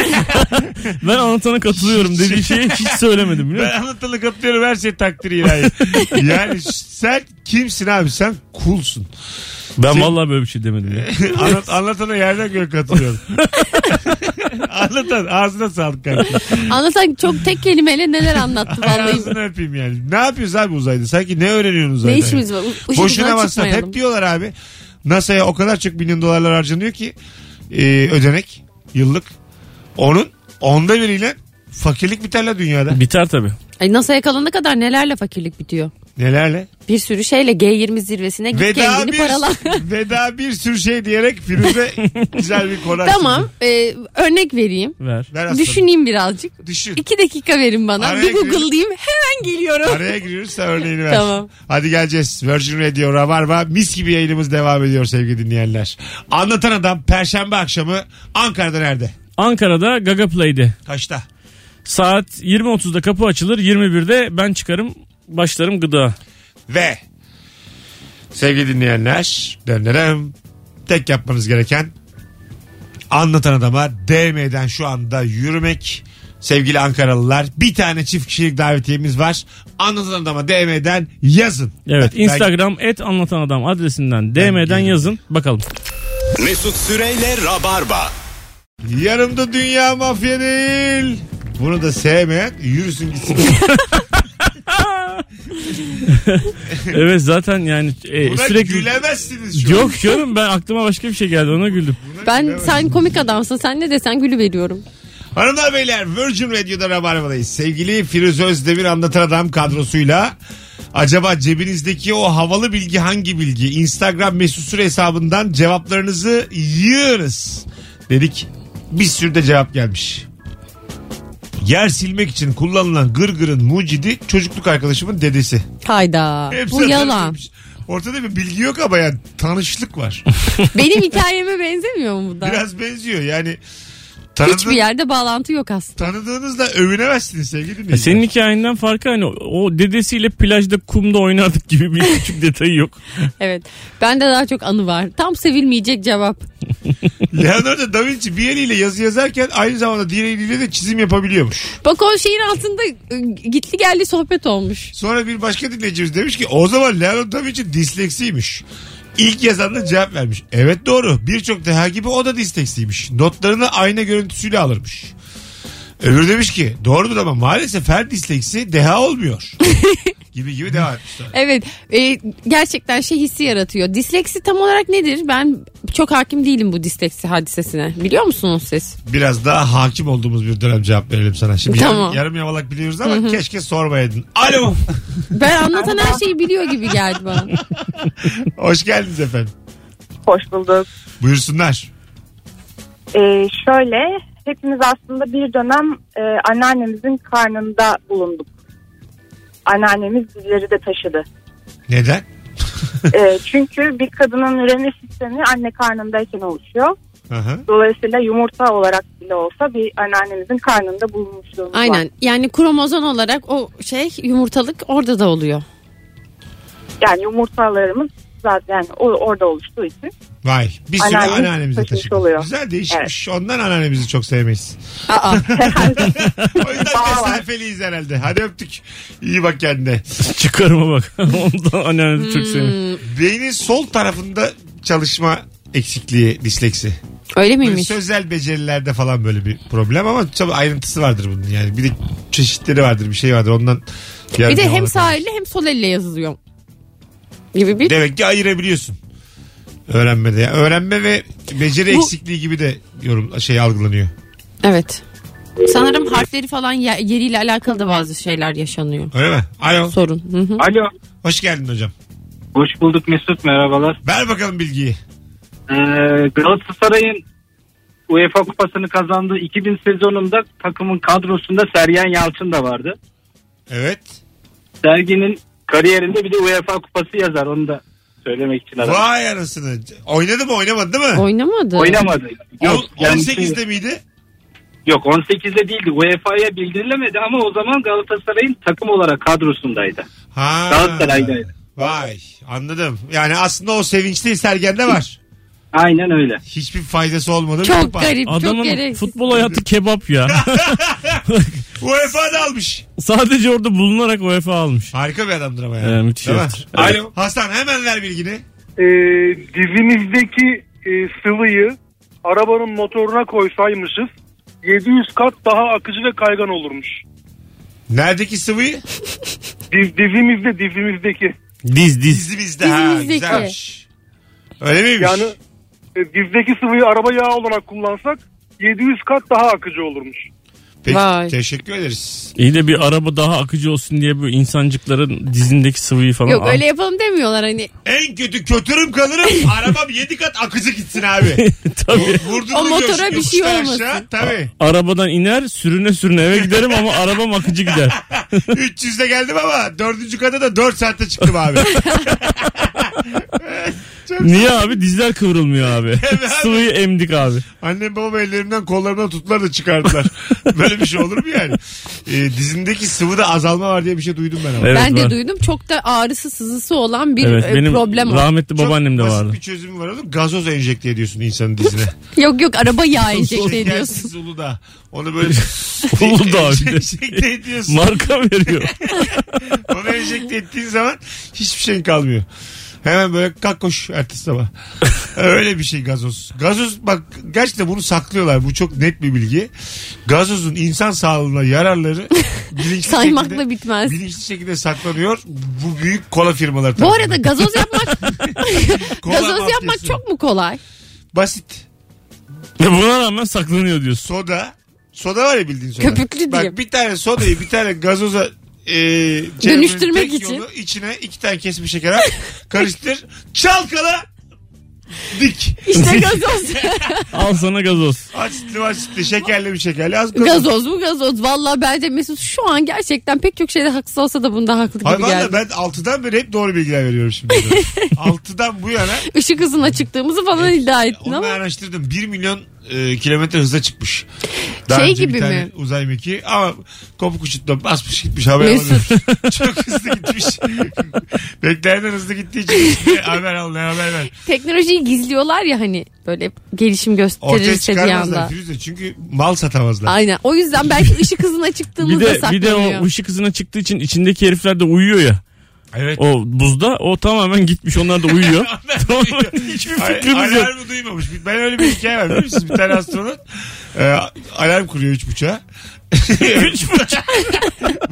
[SPEAKER 4] <laughs> ben anlatana katılıyorum dediği şeyi hiç söylemedim biliyor musun?
[SPEAKER 2] Ben anlatana katılıyorum her şey takdiri ilahi. <laughs> yani sen kimsin abi? Sen kulsun. <laughs>
[SPEAKER 4] Ben
[SPEAKER 2] Sen-
[SPEAKER 4] vallahi böyle bir şey demedim ya.
[SPEAKER 2] Anlat, anlatana yerden göğe katılıyorum. <laughs> Anlatan ağzına sağlık kanka.
[SPEAKER 3] Anlatan çok tek kelimeyle
[SPEAKER 2] <laughs>
[SPEAKER 3] neler anlattı vallahi.
[SPEAKER 2] Ağzını öpeyim yani. Ne yapıyoruz abi uzayda? Sanki ne öğreniyorsunuz uzayda?
[SPEAKER 3] ne işimiz var? Işık
[SPEAKER 2] Boşuna
[SPEAKER 3] hızına
[SPEAKER 2] masraf.
[SPEAKER 3] çıkmayalım.
[SPEAKER 2] Hep diyorlar abi. NASA'ya o kadar çok milyon dolarlar harcanıyor ki e, ödenek yıllık. Onun onda biriyle fakirlik biterler dünyada.
[SPEAKER 4] Biter tabii.
[SPEAKER 3] Ay NASA yakalana kadar nelerle fakirlik bitiyor.
[SPEAKER 2] Nelerle?
[SPEAKER 3] Bir sürü şeyle G20 zirvesine git
[SPEAKER 2] Veda
[SPEAKER 3] kendini
[SPEAKER 2] bir, <laughs>
[SPEAKER 3] parala.
[SPEAKER 2] veda bir sürü şey diyerek Firuze güzel bir konu açtı.
[SPEAKER 3] <laughs> tamam e, örnek vereyim.
[SPEAKER 4] Ver.
[SPEAKER 2] Ver aslanım.
[SPEAKER 3] Düşüneyim birazcık.
[SPEAKER 2] Düşün.
[SPEAKER 3] İki dakika verin bana.
[SPEAKER 2] Araya
[SPEAKER 3] bir
[SPEAKER 2] girelim.
[SPEAKER 3] google'layayım hemen geliyorum.
[SPEAKER 2] Araya giriyoruz sen örneğini ver.
[SPEAKER 3] Tamam.
[SPEAKER 2] Hadi geleceğiz. Virgin Radio Rabarba mis gibi yayınımız devam ediyor sevgili dinleyenler. Anlatan Adam Perşembe akşamı Ankara'da nerede?
[SPEAKER 4] Ankara'da Gaga Play'de.
[SPEAKER 2] Kaçta?
[SPEAKER 4] Saat 20.30'da kapı açılır. 21'de ben çıkarım başlarım gıda.
[SPEAKER 2] Ve sevgili dinleyenler dönerim. Tek yapmanız gereken anlatan adama DM'den şu anda yürümek. Sevgili Ankaralılar bir tane çift kişilik davetiyemiz var. Anlatan adama DM'den yazın.
[SPEAKER 4] Evet
[SPEAKER 2] Ben-
[SPEAKER 4] Instagram et anlatan adam adresinden DM'den
[SPEAKER 2] gelirim.
[SPEAKER 4] yazın <laughs> bakalım.
[SPEAKER 1] Mesut Süreyle Rabarba.
[SPEAKER 2] Yanımda dünya mafya değil. Bunu da sevmeyen yürüsün gitsin.
[SPEAKER 4] <laughs> Evet zaten yani e,
[SPEAKER 2] Buna
[SPEAKER 4] sürekli
[SPEAKER 2] gülemezsiniz şu an.
[SPEAKER 4] Yok canım ben aklıma başka bir şey geldi ona güldüm.
[SPEAKER 3] Ben sen komik adamsın. Sen ne desen gülü veriyorum.
[SPEAKER 2] Hanımlar beyler Virgin Radio'da Rabarba'dayız. Sevgili Firuze Özdemir Anlatan Adam kadrosuyla acaba cebinizdeki o havalı bilgi hangi bilgi? Instagram mesut süre hesabından cevaplarınızı yığınız dedik. Bir sürü de cevap gelmiş. Yer silmek için kullanılan gırgırın mucidi çocukluk arkadaşımın dedesi.
[SPEAKER 3] Hayda.
[SPEAKER 2] Hepsi
[SPEAKER 3] Bu yalan.
[SPEAKER 2] hatırlatılmış. Ortada bir bilgi yok ama yani tanışlık
[SPEAKER 3] <laughs>
[SPEAKER 2] var.
[SPEAKER 3] Benim hikayeme benzemiyor mu bu da?
[SPEAKER 2] Biraz benziyor yani.
[SPEAKER 3] Hiçbir
[SPEAKER 2] Tanıdığın-
[SPEAKER 3] yerde bağlantı yok aslında.
[SPEAKER 2] tanıdığınızla övünemezsiniz sevgili dinleyiciler.
[SPEAKER 4] Ya E, senin hikayenden farkı hani o dedesiyle plajda kumda oynardık gibi bir küçük detayı yok.
[SPEAKER 3] Evet. Bende daha çok anı var. Tam sevilmeyecek cevap.
[SPEAKER 2] Leonardo da Vinci bir eliyle yazı yazarken aynı zamanda diğer eliyle de çizim yapabiliyormuş.
[SPEAKER 3] Bak o şeyin altında e, gitli geldi sohbet olmuş.
[SPEAKER 2] Sonra bir başka dinleyicimiz demiş ki o zaman Leonardo da Vinci disleksiymiş. İlk yazan da cevap vermiş. Evet doğru. Birçok deha gibi o da disleksiymiş. Notlarını ayna görüntüsüyle alırmış. Öbürü demiş ki doğrudur ama maalesef her disleksi deha olmuyor. gibi gibi devam etmişler.
[SPEAKER 3] Evet e, gerçekten şey hissi yaratıyor. Disleksi tam olarak nedir? Ben çok hakim değilim bu disleksi hadisesine. Biliyor musunuz siz?
[SPEAKER 2] Biraz daha hakim olduğumuz bir dönem cevap verelim sana. Şimdi yarım-
[SPEAKER 3] Tamam.
[SPEAKER 2] yarım, yamalak biliyoruz ama keşke sormayaydın. Alo. <laughs>
[SPEAKER 3] Ben anlatan her şeyi biliyor gibi geldi bana.
[SPEAKER 2] Hoş geldiniz efendim.
[SPEAKER 10] Hoş bulduk.
[SPEAKER 2] Buyursunlar.
[SPEAKER 10] Ee, şöyle hepimiz aslında bir dönem e, anneannemizin karnında bulunduk. Anneannemiz bizleri de taşıdı.
[SPEAKER 2] Neden?
[SPEAKER 10] Ee, çünkü bir kadının üreme sistemi anne karnındayken oluşuyor.
[SPEAKER 2] Aha.
[SPEAKER 10] Dolayısıyla yumurta olarak bile olsa bir anneannemizin karnında bulunmuşluğumuz var.
[SPEAKER 3] Aynen yani kromozom olarak o şey yumurtalık orada da oluyor.
[SPEAKER 10] Yani yumurtalarımız zaten yani o- orada oluştuğu için.
[SPEAKER 2] Vay. Bir sürü
[SPEAKER 10] Anneannemiz
[SPEAKER 2] anneannemize
[SPEAKER 10] taşımış
[SPEAKER 2] taşıdık.
[SPEAKER 10] oluyor.
[SPEAKER 2] Güzel değişmiş. Ondan anneannemizi çok
[SPEAKER 3] <laughs>
[SPEAKER 2] sevmeyiz.
[SPEAKER 3] Aa,
[SPEAKER 2] O yüzden mesafeliyiz herhalde. Hadi öptük. İyi bak kendine.
[SPEAKER 4] <laughs> Çıkarıma bak. <laughs> Ondan anneannem
[SPEAKER 3] Hmm,
[SPEAKER 4] çok seviyorum.
[SPEAKER 2] Beynin sol tarafında çalışma eksikliği, disleksi.
[SPEAKER 3] öyle
[SPEAKER 2] Böyle
[SPEAKER 3] miymiş?
[SPEAKER 2] sözel becerilerde falan böyle bir problem ama tabii ayrıntısı vardır bunun yani. Bir de çeşitleri vardır, bir şey vardır. Ondan
[SPEAKER 3] Bir de
[SPEAKER 2] yardım
[SPEAKER 3] hem
[SPEAKER 2] alarak-
[SPEAKER 3] sağ elle hem sol elle yazılıyor. Gibi bir
[SPEAKER 2] Demek ki ayırabiliyorsun. Öğrenmede. Yani öğrenme ve beceri
[SPEAKER 3] Bu-
[SPEAKER 2] eksikliği gibi de yorum şey algılanıyor.
[SPEAKER 3] Evet. Sanırım harfleri falan ye- yeriyle alakalı da bazı şeyler yaşanıyor.
[SPEAKER 2] Öyle mi? Alo.
[SPEAKER 3] Sorun. Hı hı.
[SPEAKER 8] Alo.
[SPEAKER 2] Hoş geldin hocam.
[SPEAKER 8] Hoş bulduk Mesut merhabalar.
[SPEAKER 2] Ver bakalım bilgiyi.
[SPEAKER 8] Ee, Galatasaray'ın UEFA Kupası'nı kazandığı 2000 sezonunda takımın kadrosunda Sergen Yalçın da vardı.
[SPEAKER 2] Evet.
[SPEAKER 8] Sergen'in kariyerinde bir de UEFA Kupası yazar onu da söylemek için aradım.
[SPEAKER 2] Vay anasını. Oynadı mı oynamadı değil
[SPEAKER 4] Ah.
[SPEAKER 2] mi?
[SPEAKER 3] Oynamadı.
[SPEAKER 8] Oynamadı. Yok,
[SPEAKER 2] On-
[SPEAKER 8] kendisi-
[SPEAKER 2] 18'de miydi?
[SPEAKER 8] Yok 18'de değildi. E UEFA'ya bildirilemedi ama o zaman Galatasaray'ın takım olarak kadrosundaydı.
[SPEAKER 2] Ha.
[SPEAKER 8] Galatasaray'daydı.
[SPEAKER 2] Vay anladım. Yani aslında o sevinç değil Sergen'de var.
[SPEAKER 8] Aynen öyle.
[SPEAKER 2] Hiçbir faydası olmadı.
[SPEAKER 3] Çok garip, çok
[SPEAKER 4] Adamın
[SPEAKER 3] gereksiz.
[SPEAKER 4] futbol hayatı kebap ya. <laughs>
[SPEAKER 2] UEFA'da almış.
[SPEAKER 4] Sadece orada bulunarak UEFA almış.
[SPEAKER 2] Harika bir adamdır ama yani.
[SPEAKER 4] Evet, müthiş
[SPEAKER 2] Değil mi?
[SPEAKER 4] yaptı.
[SPEAKER 2] Alo. Hasan hemen ver bilgini.
[SPEAKER 9] e, dizimizdeki e, sıvıyı arabanın motoruna koysaymışız 700 kat daha akıcı ve kaygan olurmuş.
[SPEAKER 2] Neredeki sıvıyı?
[SPEAKER 9] Diz, dizimizde dizimizdeki
[SPEAKER 4] Diz diz.
[SPEAKER 2] Dizimizde. Ha,
[SPEAKER 3] Dizimizdeki.
[SPEAKER 2] güzelmiş. Öyle miymiş?
[SPEAKER 9] yani e, dizdeki sıvıyı araba yağı olarak kullansak 700 kat daha akıcı olurmuş.
[SPEAKER 2] Peki,
[SPEAKER 3] Vay.
[SPEAKER 2] teşekkür ederiz.
[SPEAKER 4] İyi de bir araba daha akıcı olsun diye bu insancıkların dizindeki sıvıyı falan.
[SPEAKER 3] Yok
[SPEAKER 4] al.
[SPEAKER 3] öyle yapalım demiyorlar hani.
[SPEAKER 2] En kötü kötürüm
[SPEAKER 3] <laughs>
[SPEAKER 2] kalırım. Arabam 7 kat akıcı gitsin abi.
[SPEAKER 4] <laughs> Tabii.
[SPEAKER 2] Vurdum
[SPEAKER 3] O motora bir şey olmasın.
[SPEAKER 2] Tabii.
[SPEAKER 4] Arabadan iner sürüne sürüne eve giderim ama arabam akıcı gider.
[SPEAKER 2] 300'de geldim ama 4. kata da 4 saatte çıktım
[SPEAKER 4] <laughs>
[SPEAKER 2] abi. Çok
[SPEAKER 4] Niye abi? Dizler kıvrılmıyor abi.
[SPEAKER 2] Evet abi.
[SPEAKER 4] Sıvıyı emdik abi.
[SPEAKER 2] Annem babam ellerimden kollarımdan tuttular da çıkardılar. Böyle bir şey olur mu yani? Ee, dizimdeki sıvıda azalma var diye bir şey duydum ben ama.
[SPEAKER 4] Evet,
[SPEAKER 3] ben de
[SPEAKER 4] var.
[SPEAKER 3] duydum çok da ağrısı sızısı olan bir
[SPEAKER 4] Evet
[SPEAKER 3] e,
[SPEAKER 4] benim
[SPEAKER 3] problem var.
[SPEAKER 4] rahmetli babaannem de
[SPEAKER 2] Çok
[SPEAKER 4] vardı.
[SPEAKER 2] Basit bir çözümü var oğlum. Gazoz enjekte ediyorsun insanın dizine.
[SPEAKER 3] Yok yok araba yağı <laughs> enjekte ediyorsun.
[SPEAKER 2] Şekersiz Uludağ. Onu
[SPEAKER 4] <laughs>
[SPEAKER 2] böyle <laughs>
[SPEAKER 4] Uludağ bir de.
[SPEAKER 2] enjekte
[SPEAKER 4] şey.
[SPEAKER 2] ediyorsun.
[SPEAKER 4] Marka veriyor.
[SPEAKER 2] Onu enjekte ettiğin zaman hiçbir şeyin kalmıyor. Hemen böyle kalk koş ertesi sabah. Öyle bir şey gazoz. Gazoz bak gerçekten bunu saklıyorlar. Bu çok net bir bilgi. Gazozun insan sağlığına
[SPEAKER 3] <laughs>
[SPEAKER 2] yararları bilinçli
[SPEAKER 3] Saymakla
[SPEAKER 2] şekilde,
[SPEAKER 3] bitmez.
[SPEAKER 2] bilinçli şekilde saklanıyor. Bu büyük kola firmaları
[SPEAKER 3] Bu
[SPEAKER 2] tarafından.
[SPEAKER 3] arada gazoz
[SPEAKER 4] <laughs>
[SPEAKER 3] yapmak
[SPEAKER 2] Kola
[SPEAKER 3] gazoz yapmak
[SPEAKER 2] mafyası.
[SPEAKER 3] çok mu kolay?
[SPEAKER 2] basit.
[SPEAKER 4] Ve Buna rağmen saklanıyor diyorsun.
[SPEAKER 2] Soda. Soda var ya bildiğin soda.
[SPEAKER 3] Köpüklü
[SPEAKER 2] Bak
[SPEAKER 3] diyeyim.
[SPEAKER 2] bir tane sodayı bir tane gazoza e, çevirmenin
[SPEAKER 3] Dönüştürmek
[SPEAKER 2] tek
[SPEAKER 3] için.
[SPEAKER 2] Yolu, içine iki tane kesmiş şeker at.
[SPEAKER 3] <laughs>
[SPEAKER 2] karıştır. Çalkala. Dik.
[SPEAKER 4] <laughs>
[SPEAKER 3] İşte gazoz.
[SPEAKER 4] Al sana gazoz.
[SPEAKER 2] Asitli asitli şekerli bir şekerli az gazoz.
[SPEAKER 3] gazoz mu gazoz? Valla bence Mesut şu an gerçekten pek çok şeyde haksız olsa da bunda haklı gibi
[SPEAKER 2] Hayır valla
[SPEAKER 3] geldi.
[SPEAKER 2] ben 6'dan beri hep doğru bilgiler veriyorum
[SPEAKER 3] <laughs>
[SPEAKER 2] şimdi. 6'dan bu yana
[SPEAKER 3] Işık hızına çıktığımızı falan iddia ettin
[SPEAKER 2] onu
[SPEAKER 3] ama.
[SPEAKER 2] araştırdım. 1 milyon e, kilometre hıza çıkmış. Daha
[SPEAKER 3] Şey
[SPEAKER 2] önce bir
[SPEAKER 3] gibi
[SPEAKER 2] tane
[SPEAKER 3] mi?
[SPEAKER 2] Uzay mekiği ama kopuk uçutla basmış gitmiş haber
[SPEAKER 3] Mesut.
[SPEAKER 2] alamamış. <laughs> Çok hızlı gitmiş. Beklerden hızlı <laughs> gittiği için hiçbir haber al ne haber ver.
[SPEAKER 3] Teknolojiyi gizliyorlar ya hani böyle gelişim
[SPEAKER 2] Ortaya
[SPEAKER 3] gösterirse bir
[SPEAKER 2] çıkarmazlar
[SPEAKER 3] anda.
[SPEAKER 2] Firuze çünkü mal satamazlar.
[SPEAKER 3] Aynen. O yüzden belki ışık hızına çıktığımızda
[SPEAKER 4] Bir de bir de
[SPEAKER 3] saklanıyor.
[SPEAKER 4] o ışık hızına çıktığı için içindeki herifler de uyuyor ya.
[SPEAKER 2] Evet.
[SPEAKER 4] O buzda o tamamen gitmiş onlar
[SPEAKER 2] <laughs>
[SPEAKER 4] da uyuyor. tamam. Hiçbir fikrimiz yok.
[SPEAKER 2] Alarmı duymamış. Ben öyle bir hikaye var biliyor musun? Bir tane astronot e, alarm kuruyor üç
[SPEAKER 3] <laughs>
[SPEAKER 2] buçağa. üç buçağa.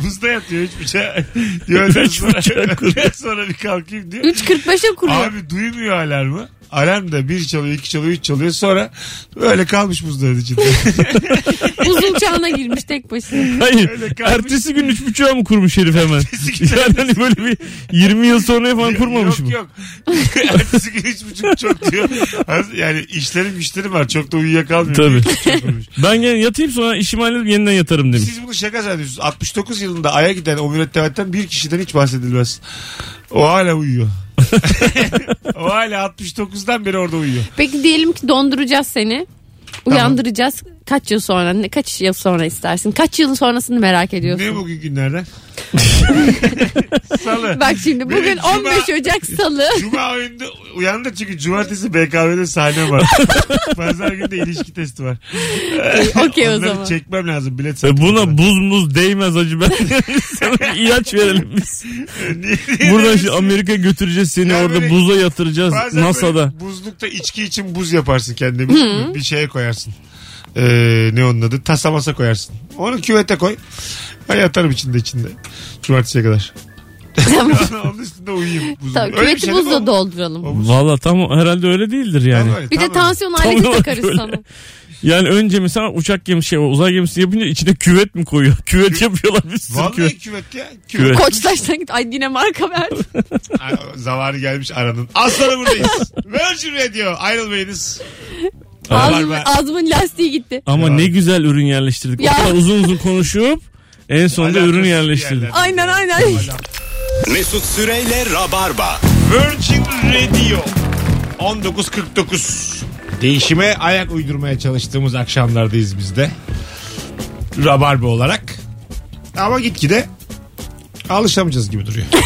[SPEAKER 2] Buzda yatıyor üç buçağa. Diyor önden
[SPEAKER 4] Üç
[SPEAKER 2] sonra, <laughs>
[SPEAKER 4] buçağa kuruyor.
[SPEAKER 2] önden sonra bir kalkayım diyor.
[SPEAKER 3] 3.45'e kuruyor.
[SPEAKER 2] Abi duymuyor alarmı. Alarm da bir çalıyor, iki çalıyor, üç çalıyor. Sonra böyle kalmış buzların
[SPEAKER 4] <laughs>
[SPEAKER 2] içinde.
[SPEAKER 3] <laughs> Uzun çağına girmiş tek başına.
[SPEAKER 2] Öyle kalmış.
[SPEAKER 4] Hayır. Ertesi gün üç buçuğa mı kurmuş herif hemen? <laughs> yani hani böyle bir 20 yıl sonra falan kurmamış
[SPEAKER 2] yok <laughs>
[SPEAKER 4] mı?
[SPEAKER 2] yok. Ertesi gün üç buçuk çok diyor. Yani işlerim güçlerim var. Çok da uyuyakalmıyor.
[SPEAKER 4] Tabii.
[SPEAKER 2] Çok uyumuş.
[SPEAKER 4] Ben gene yatayım sonra işimi halledip yeniden yatarım demiş.
[SPEAKER 2] Siz bunu şaka zannediyorsunuz. 69 yılında Ay'a giden o mürettebatten bir kişiden hiç bahsedilmez. O hala uyuyor. <laughs> o hala 69'dan beri orada uyuyor.
[SPEAKER 3] Peki diyelim ki donduracağız seni. Uyandıracağız. Kaç yıl sonra? Ne kaç yıl sonra istersin? Kaç yıl sonrasını
[SPEAKER 2] <laughs>
[SPEAKER 3] merak ediyorsun?
[SPEAKER 2] Ne bugün
[SPEAKER 4] <laughs>
[SPEAKER 2] günlerden? Salı.
[SPEAKER 3] Bak şimdi bugün
[SPEAKER 2] Benim cuma-
[SPEAKER 3] 15 Ocak
[SPEAKER 2] <laughs>
[SPEAKER 3] Salı.
[SPEAKER 2] Cuma oyunda uyandık çünkü cumartesi BKM'de sahne
[SPEAKER 3] <laughs>
[SPEAKER 2] var. Pazar günü de ilişki testi var.
[SPEAKER 3] okey o
[SPEAKER 2] Onları
[SPEAKER 3] zaman.
[SPEAKER 2] çekmem lazım bilet
[SPEAKER 4] E
[SPEAKER 2] satın.
[SPEAKER 4] Buna buz muz değmez acı ben. <laughs> Sana bir ilaç verelim biz.
[SPEAKER 2] <laughs> Niye- niye
[SPEAKER 4] Buradan
[SPEAKER 2] demiş?
[SPEAKER 4] şimdi Amerika götüreceğiz seni
[SPEAKER 2] Ya
[SPEAKER 4] orada
[SPEAKER 2] böyle-
[SPEAKER 4] buza yatıracağız
[SPEAKER 2] Bazen
[SPEAKER 4] NASA'da.
[SPEAKER 2] böyle buzlukta içki için buz yaparsın kendini.
[SPEAKER 3] Hmm.
[SPEAKER 2] Bir şeye koyarsın. Ee, ne onun adı? Tasa masa koyarsın. Onu küvete koy. Ben yatarım içinde içinde. Cumartesiye kadar. <laughs>
[SPEAKER 3] <laughs>
[SPEAKER 2] onun üstünde uyuyayım. Buzun.
[SPEAKER 3] Tabii,
[SPEAKER 2] Öyle bir
[SPEAKER 3] küveti
[SPEAKER 2] şey değil mi?
[SPEAKER 3] buzla dolduralım.
[SPEAKER 4] Valla tam herhalde öyle değildir yani.
[SPEAKER 2] Tam öyle,
[SPEAKER 3] Bir
[SPEAKER 2] tam
[SPEAKER 3] de
[SPEAKER 2] öyle.
[SPEAKER 3] tansiyon
[SPEAKER 4] Tam
[SPEAKER 3] aleti
[SPEAKER 4] olarak
[SPEAKER 3] takarız
[SPEAKER 2] <laughs>
[SPEAKER 4] öyle.
[SPEAKER 3] sana.
[SPEAKER 4] Yani önce mesela uçak gemisi şey, uzay gemisi yapınca içine küvet mi koyuyor? <laughs> Küvet yapıyorlar bir sürü küvet.
[SPEAKER 2] <laughs> Vallahi küvet ya.
[SPEAKER 4] Küvet.
[SPEAKER 2] Küvet.
[SPEAKER 3] <laughs> Koçtaş'tan git. Ay yine marka ver.
[SPEAKER 2] <laughs> Ay, Zavarı gelmiş aranın. Az sonra
[SPEAKER 3] <laughs>
[SPEAKER 2] buradayız. Virgin Radio. Ayrılmayınız.
[SPEAKER 3] Ağzım,
[SPEAKER 2] Var, var.
[SPEAKER 3] ağzımın lastiği gitti.
[SPEAKER 4] Ama
[SPEAKER 2] Ya.
[SPEAKER 4] ne güzel ürün yerleştirdik.
[SPEAKER 3] Ya.
[SPEAKER 4] O kadar uzun uzun konuşup en sonunda
[SPEAKER 2] Alakasız
[SPEAKER 4] ürün
[SPEAKER 2] bir
[SPEAKER 4] yerleştirdik.
[SPEAKER 2] yerler.
[SPEAKER 3] Aynen aynen.
[SPEAKER 1] Mesut Süreyle Rabarba.
[SPEAKER 2] Virgin Radio 19.49 Değişime ayak uydurmaya çalıştığımız akşamlardayız biz de. Rabarba olarak. Ama gitgide alışamayacağız gibi duruyor. <laughs>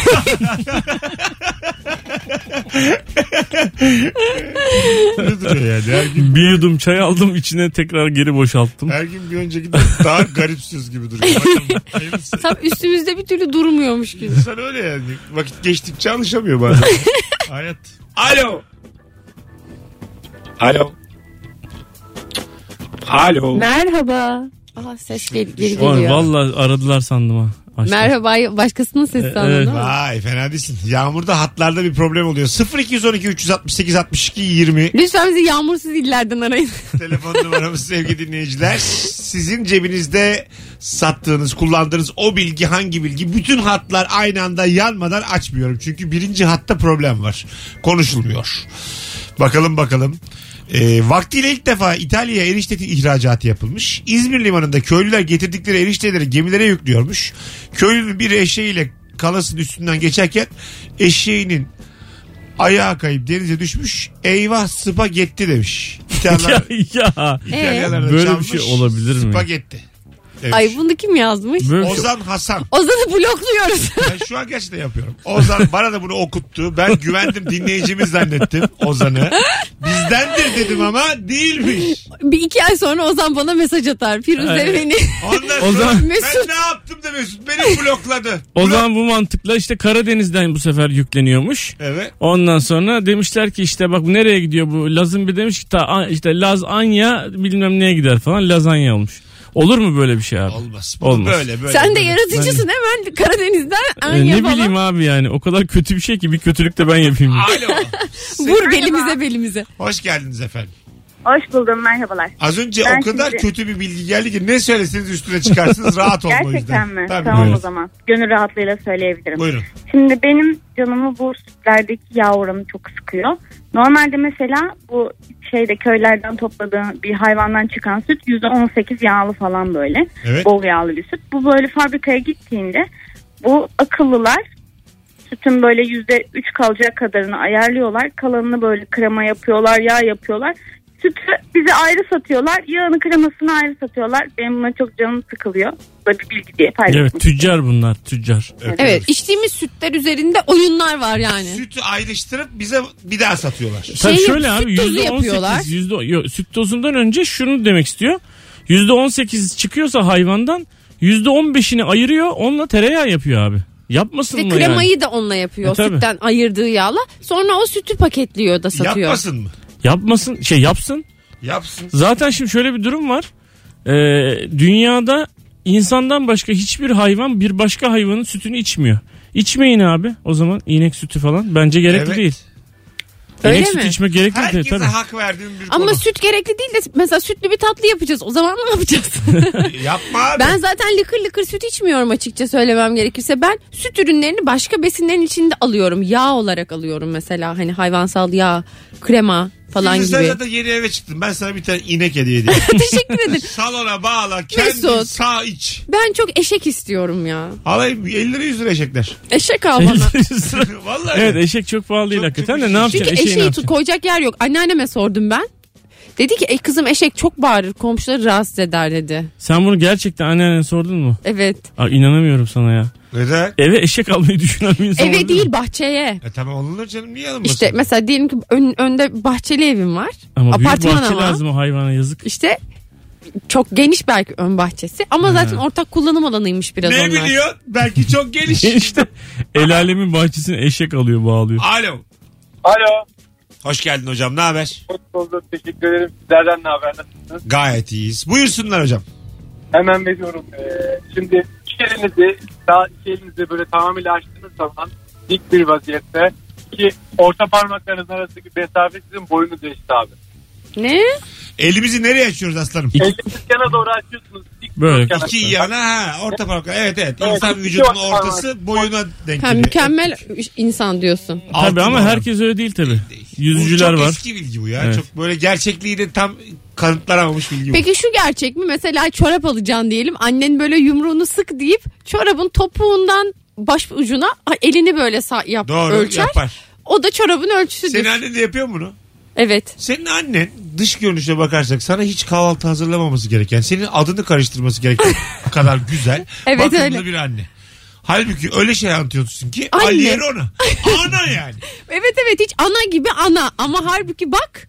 [SPEAKER 2] ne duruyor yani? Her gün,
[SPEAKER 4] Bir yudum çay aldım içine tekrar geri boşalttım.
[SPEAKER 2] her gün bir önceki de daha garipsiz gibi duruyor. Bakalım, hayırlısı.
[SPEAKER 3] Tam üstümüzde bir türlü durmuyormuş gibi.
[SPEAKER 2] İnsan öyle yani. Vakit geçtikçe alışamıyor bazen. Hayat. Alo. Alo. Alo.
[SPEAKER 3] Merhaba. Aa, ses gel- geri
[SPEAKER 4] Vay,
[SPEAKER 3] geliyor.
[SPEAKER 4] Vallahi aradılar sandım ha. Açtım.
[SPEAKER 3] Merhaba başkasının
[SPEAKER 2] E,
[SPEAKER 3] sesi sandım. değil mi?
[SPEAKER 2] Vay fena değilsin. Yağmurda hatlarda bir problem oluyor. 0212 368 62 20
[SPEAKER 3] Lütfen bizi yağmursuz illerden arayın.
[SPEAKER 2] <laughs> telefon numaramız sevgili dinleyiciler. Sizin cebinizde sattığınız, kullandığınız o bilgi hangi bilgi? Bütün hatlar aynı anda yanmadan açmıyorum. Çünkü birinci hatta problem var. Konuşulmuyor. Bakalım bakalım. E, vaktiyle ilk defa İtalya'ya erişte ihracatı yapılmış. İzmir limanında köylüler getirdikleri erişteleri gemilere yüklüyormuş. Köylünün bir eşeğiyle kalasının üstünden geçerken eşeğinin ayağı kayıp denize düşmüş. Eyvah spagetti demiş.
[SPEAKER 4] ya,
[SPEAKER 2] İtalyanlar,
[SPEAKER 4] <laughs> ya.
[SPEAKER 2] İtalyanlar da
[SPEAKER 4] Böyle bir
[SPEAKER 2] çalmış,
[SPEAKER 4] şey olabilir mi?
[SPEAKER 2] Spagetti. demiş.
[SPEAKER 3] Ay bunu kim yazmış?
[SPEAKER 4] Böyle bir şey-
[SPEAKER 2] Ozan Hasan.
[SPEAKER 3] Ozan'ı blokluyoruz. <laughs>
[SPEAKER 2] Ben şu an gerçekten yapıyorum. Ozan bana da bunu okuttu. Ben güvendim dinleyicimiz zannettim Ozan'ı. Bizdendir dedim ama değilmiş.
[SPEAKER 3] bir iki ay sonra Ozan bana mesaj atar. Firuze
[SPEAKER 4] Ay.
[SPEAKER 3] beni.
[SPEAKER 2] Ondan sonra
[SPEAKER 4] Ozan-
[SPEAKER 2] ben
[SPEAKER 3] Mesut.
[SPEAKER 2] ne yaptım da Mesut beni blokladı.
[SPEAKER 4] O zaman bu mantıkla işte Karadeniz'den bu sefer yükleniyormuş.
[SPEAKER 2] Evet.
[SPEAKER 4] Ondan sonra demişler ki işte bak bu nereye gidiyor bu? Laz'ın bir demiş ki ta, işte Laz Anya bilmem neye gider falan Lazanya olmuş. Olur mu böyle bir şey abi?
[SPEAKER 2] Olmaz.
[SPEAKER 4] Olmaz.
[SPEAKER 2] Böyle böyle.
[SPEAKER 3] Sen de
[SPEAKER 2] böyle.
[SPEAKER 3] yaratıcısın hemen Karadeniz'den
[SPEAKER 2] E,
[SPEAKER 4] Ee,
[SPEAKER 3] Anya
[SPEAKER 4] ne
[SPEAKER 3] falan.
[SPEAKER 4] bileyim abi yani o kadar kötü bir şey ki bir kötülük de ben yapayım.
[SPEAKER 2] Alo.
[SPEAKER 3] Vur belimize belimize.
[SPEAKER 2] Hoş geldiniz efendim.
[SPEAKER 10] Hoş buldum merhabalar.
[SPEAKER 2] Az önce
[SPEAKER 10] Ben
[SPEAKER 2] o kadar
[SPEAKER 10] şimdi-
[SPEAKER 2] kötü bir bilgi geldi ki ne söyleseniz üstüne çıkarsınız rahat olma o yüzden.
[SPEAKER 10] Gerçekten mi?
[SPEAKER 2] Tabii.
[SPEAKER 10] tamam
[SPEAKER 2] Buyurun.
[SPEAKER 10] o zaman. Gönül rahatlığıyla söyleyebilirim.
[SPEAKER 2] Buyurun.
[SPEAKER 10] Şimdi benim canımı bu sütlerdeki yağ oranı çok sıkıyor. Normalde mesela bu şeyde köylerden topladığım bir hayvandan çıkan süt %18 yağlı falan böyle.
[SPEAKER 2] Evet.
[SPEAKER 10] Bol yağlı bir süt. Bu böyle fabrikaya gittiğinde bu akıllılar sütün böyle %3 kalacak kadarını ayarlıyorlar. Kalanını böyle krema yapıyorlar, yağ yapıyorlar. Sütü bize ayrı satıyorlar. Yağını kremasını ayrı satıyorlar. Benim buna çok canım sıkılıyor. Böyle bir bilgi diye paylaşmak
[SPEAKER 4] evet tüccar bunlar tüccar.
[SPEAKER 3] Evet içtiğimiz sütler üzerinde oyunlar var yani.
[SPEAKER 2] Sütü ayrıştırıp bize bir daha satıyorlar.
[SPEAKER 4] Tabii
[SPEAKER 3] Şey,
[SPEAKER 4] şöyle
[SPEAKER 3] süt
[SPEAKER 4] abi
[SPEAKER 3] tozu
[SPEAKER 4] yüzde
[SPEAKER 3] yapıyorlar.
[SPEAKER 4] 18 yüzde yok, süt tozundan önce şunu demek istiyor. Yüzde 18 çıkıyorsa hayvandan yüzde 15'ini ayırıyor onunla tereyağı yapıyor abi. Yapmasın
[SPEAKER 3] Ve
[SPEAKER 4] mı
[SPEAKER 3] kremayı
[SPEAKER 4] yani?
[SPEAKER 3] da onunla yapıyor.
[SPEAKER 4] E,
[SPEAKER 3] o
[SPEAKER 4] tabii.
[SPEAKER 3] sütten ayırdığı yağla. Sonra o sütü paketliyor da satıyor.
[SPEAKER 2] Yapmasın mı?
[SPEAKER 4] Yapmasın. Şey yapsın.
[SPEAKER 2] Yapsın.
[SPEAKER 4] Zaten şimdi şöyle bir durum var. Ee, dünyada insandan başka hiçbir hayvan bir başka hayvanın sütünü içmiyor. İçmeyin abi o zaman inek sütü falan bence gerekli
[SPEAKER 2] Evet.
[SPEAKER 4] değil.
[SPEAKER 3] Öyle
[SPEAKER 4] inek
[SPEAKER 3] mi?
[SPEAKER 4] sütü içmek gerekli değil
[SPEAKER 2] Herkese
[SPEAKER 4] tabii.
[SPEAKER 2] hak verdiğim bir
[SPEAKER 3] Ama
[SPEAKER 2] konu.
[SPEAKER 3] süt gerekli değil de mesela sütlü bir tatlı yapacağız. O zaman ne
[SPEAKER 4] <laughs>
[SPEAKER 3] yapacağız?
[SPEAKER 2] Yapma abi.
[SPEAKER 3] ben zaten lıkır lıkır süt içmiyorum açıkça söylemem gerekirse. Ben süt ürünlerini başka besinlerin içinde alıyorum. Yağ olarak alıyorum mesela. Hani hayvansal yağ, krema falan
[SPEAKER 2] Şimdi Sen
[SPEAKER 3] gibi.
[SPEAKER 2] zaten yeni eve çıktın. Ben sana bir tane inek hediye edeyim.
[SPEAKER 3] <laughs> Teşekkür ederim.
[SPEAKER 2] Salona bağla. Kendin
[SPEAKER 3] Mesut.
[SPEAKER 2] sağ iç.
[SPEAKER 3] Ben çok eşek istiyorum ya.
[SPEAKER 2] Alayım 50 lira 100 lira
[SPEAKER 4] <laughs>
[SPEAKER 2] eşekler.
[SPEAKER 3] Eşek al bana.
[SPEAKER 2] <laughs> Vallahi.
[SPEAKER 4] evet eşek çok pahalı değil hakikaten de ne yapacaksın?
[SPEAKER 3] Çünkü
[SPEAKER 4] Eşeği ne
[SPEAKER 3] eşeği
[SPEAKER 4] yapacaksın?
[SPEAKER 3] tut- koyacak yer yok. Anneanneme sordum ben. Dedi ki e, kızım eşek çok bağırır komşuları rahatsız eder dedi.
[SPEAKER 4] Sen bunu gerçekten anneannene sordun mu?
[SPEAKER 3] Evet.
[SPEAKER 4] Aa, inanamıyorum sana ya.
[SPEAKER 2] Neden?
[SPEAKER 4] Eve eşek almayı <laughs> düşünen bir insan olabilir
[SPEAKER 3] Eve
[SPEAKER 4] mi?
[SPEAKER 3] değil bahçeye.
[SPEAKER 2] E tamam alınır canım niye alınmasın?
[SPEAKER 3] İşte mesela diyelim ki ön- önde bahçeli evim var.
[SPEAKER 4] Ama
[SPEAKER 3] Apartman
[SPEAKER 4] büyük bahçe
[SPEAKER 3] ama.
[SPEAKER 4] lazım o hayvana yazık. <laughs>
[SPEAKER 3] İşte çok geniş belki ön bahçesi ama zaten ortak kullanım alanıymış biraz
[SPEAKER 2] ne
[SPEAKER 3] onlar.
[SPEAKER 2] biliyor? Belki çok
[SPEAKER 4] <laughs>
[SPEAKER 2] geniş.
[SPEAKER 4] işte el alemin bahçesine eşek alıyor bağlıyor.
[SPEAKER 2] Alo.
[SPEAKER 8] Alo.
[SPEAKER 2] Hoş geldin hocam. Ne haber?
[SPEAKER 8] Hoş bulduk. Teşekkür ederim. Sizlerden ne haber? Nasılsınız?
[SPEAKER 2] Gayet iyiyiz. Buyursunlar hocam.
[SPEAKER 8] Hemen veriyorum. Ee, şimdi iki elinizi, daha iki elinizi böyle tamamıyla açtığınız zaman dik bir vaziyette iki orta parmaklarınız arasındaki mesafe sizin boyunuz eşit abi.
[SPEAKER 3] Ne?
[SPEAKER 2] Elimizi nereye açıyoruz aslanım?
[SPEAKER 4] İki-
[SPEAKER 8] Elinizi yana doğru açıyorsunuz. Dik
[SPEAKER 4] Böyle.
[SPEAKER 8] yana.
[SPEAKER 2] İki yana ha orta parmaklar. Evet evet.
[SPEAKER 8] Evet,
[SPEAKER 2] İnsan
[SPEAKER 8] iki
[SPEAKER 2] vücudunun
[SPEAKER 8] parmak.
[SPEAKER 2] ortası boyuna denk
[SPEAKER 3] Ha,
[SPEAKER 2] geliyor.
[SPEAKER 3] mükemmel
[SPEAKER 4] e,
[SPEAKER 3] insan diyorsun.
[SPEAKER 2] Altın
[SPEAKER 4] Tabii ama
[SPEAKER 2] olan.
[SPEAKER 4] herkes öyle değil tabii.
[SPEAKER 2] Bu
[SPEAKER 4] Yüzücüler
[SPEAKER 2] çok
[SPEAKER 4] var.
[SPEAKER 2] eski bilgi bu ya.
[SPEAKER 4] Evet.
[SPEAKER 2] Çok böyle gerçekliği de tam kanıtlanamamış bilgi bu.
[SPEAKER 3] Peki şu gerçek mi? Mesela çorap alacaksın diyelim. Annen böyle yumruğunu sık deyip çorabın topuğundan baş ucuna ha, elini böyle sa- yap,
[SPEAKER 2] Doğru
[SPEAKER 3] ölçer.
[SPEAKER 2] yapar.
[SPEAKER 3] O da çorabın ölçüsüdür.
[SPEAKER 2] Senin annen de yapıyor mu bunu?
[SPEAKER 3] Evet.
[SPEAKER 2] Senin annen dış görünüşe bakarsak sana hiç kahvaltı hazırlamaması gereken, senin adını karıştırması
[SPEAKER 3] <laughs>
[SPEAKER 2] gereken kadar güzel,
[SPEAKER 3] Evet,
[SPEAKER 2] bakımlı
[SPEAKER 3] öyle.
[SPEAKER 2] bir anne. Halbuki öyle şey anlatıyorsun ki
[SPEAKER 3] Anne.
[SPEAKER 2] Aliyer ona. Ana
[SPEAKER 3] <laughs>
[SPEAKER 2] yani.
[SPEAKER 3] Evet evet hiç ana gibi ana ama halbuki bak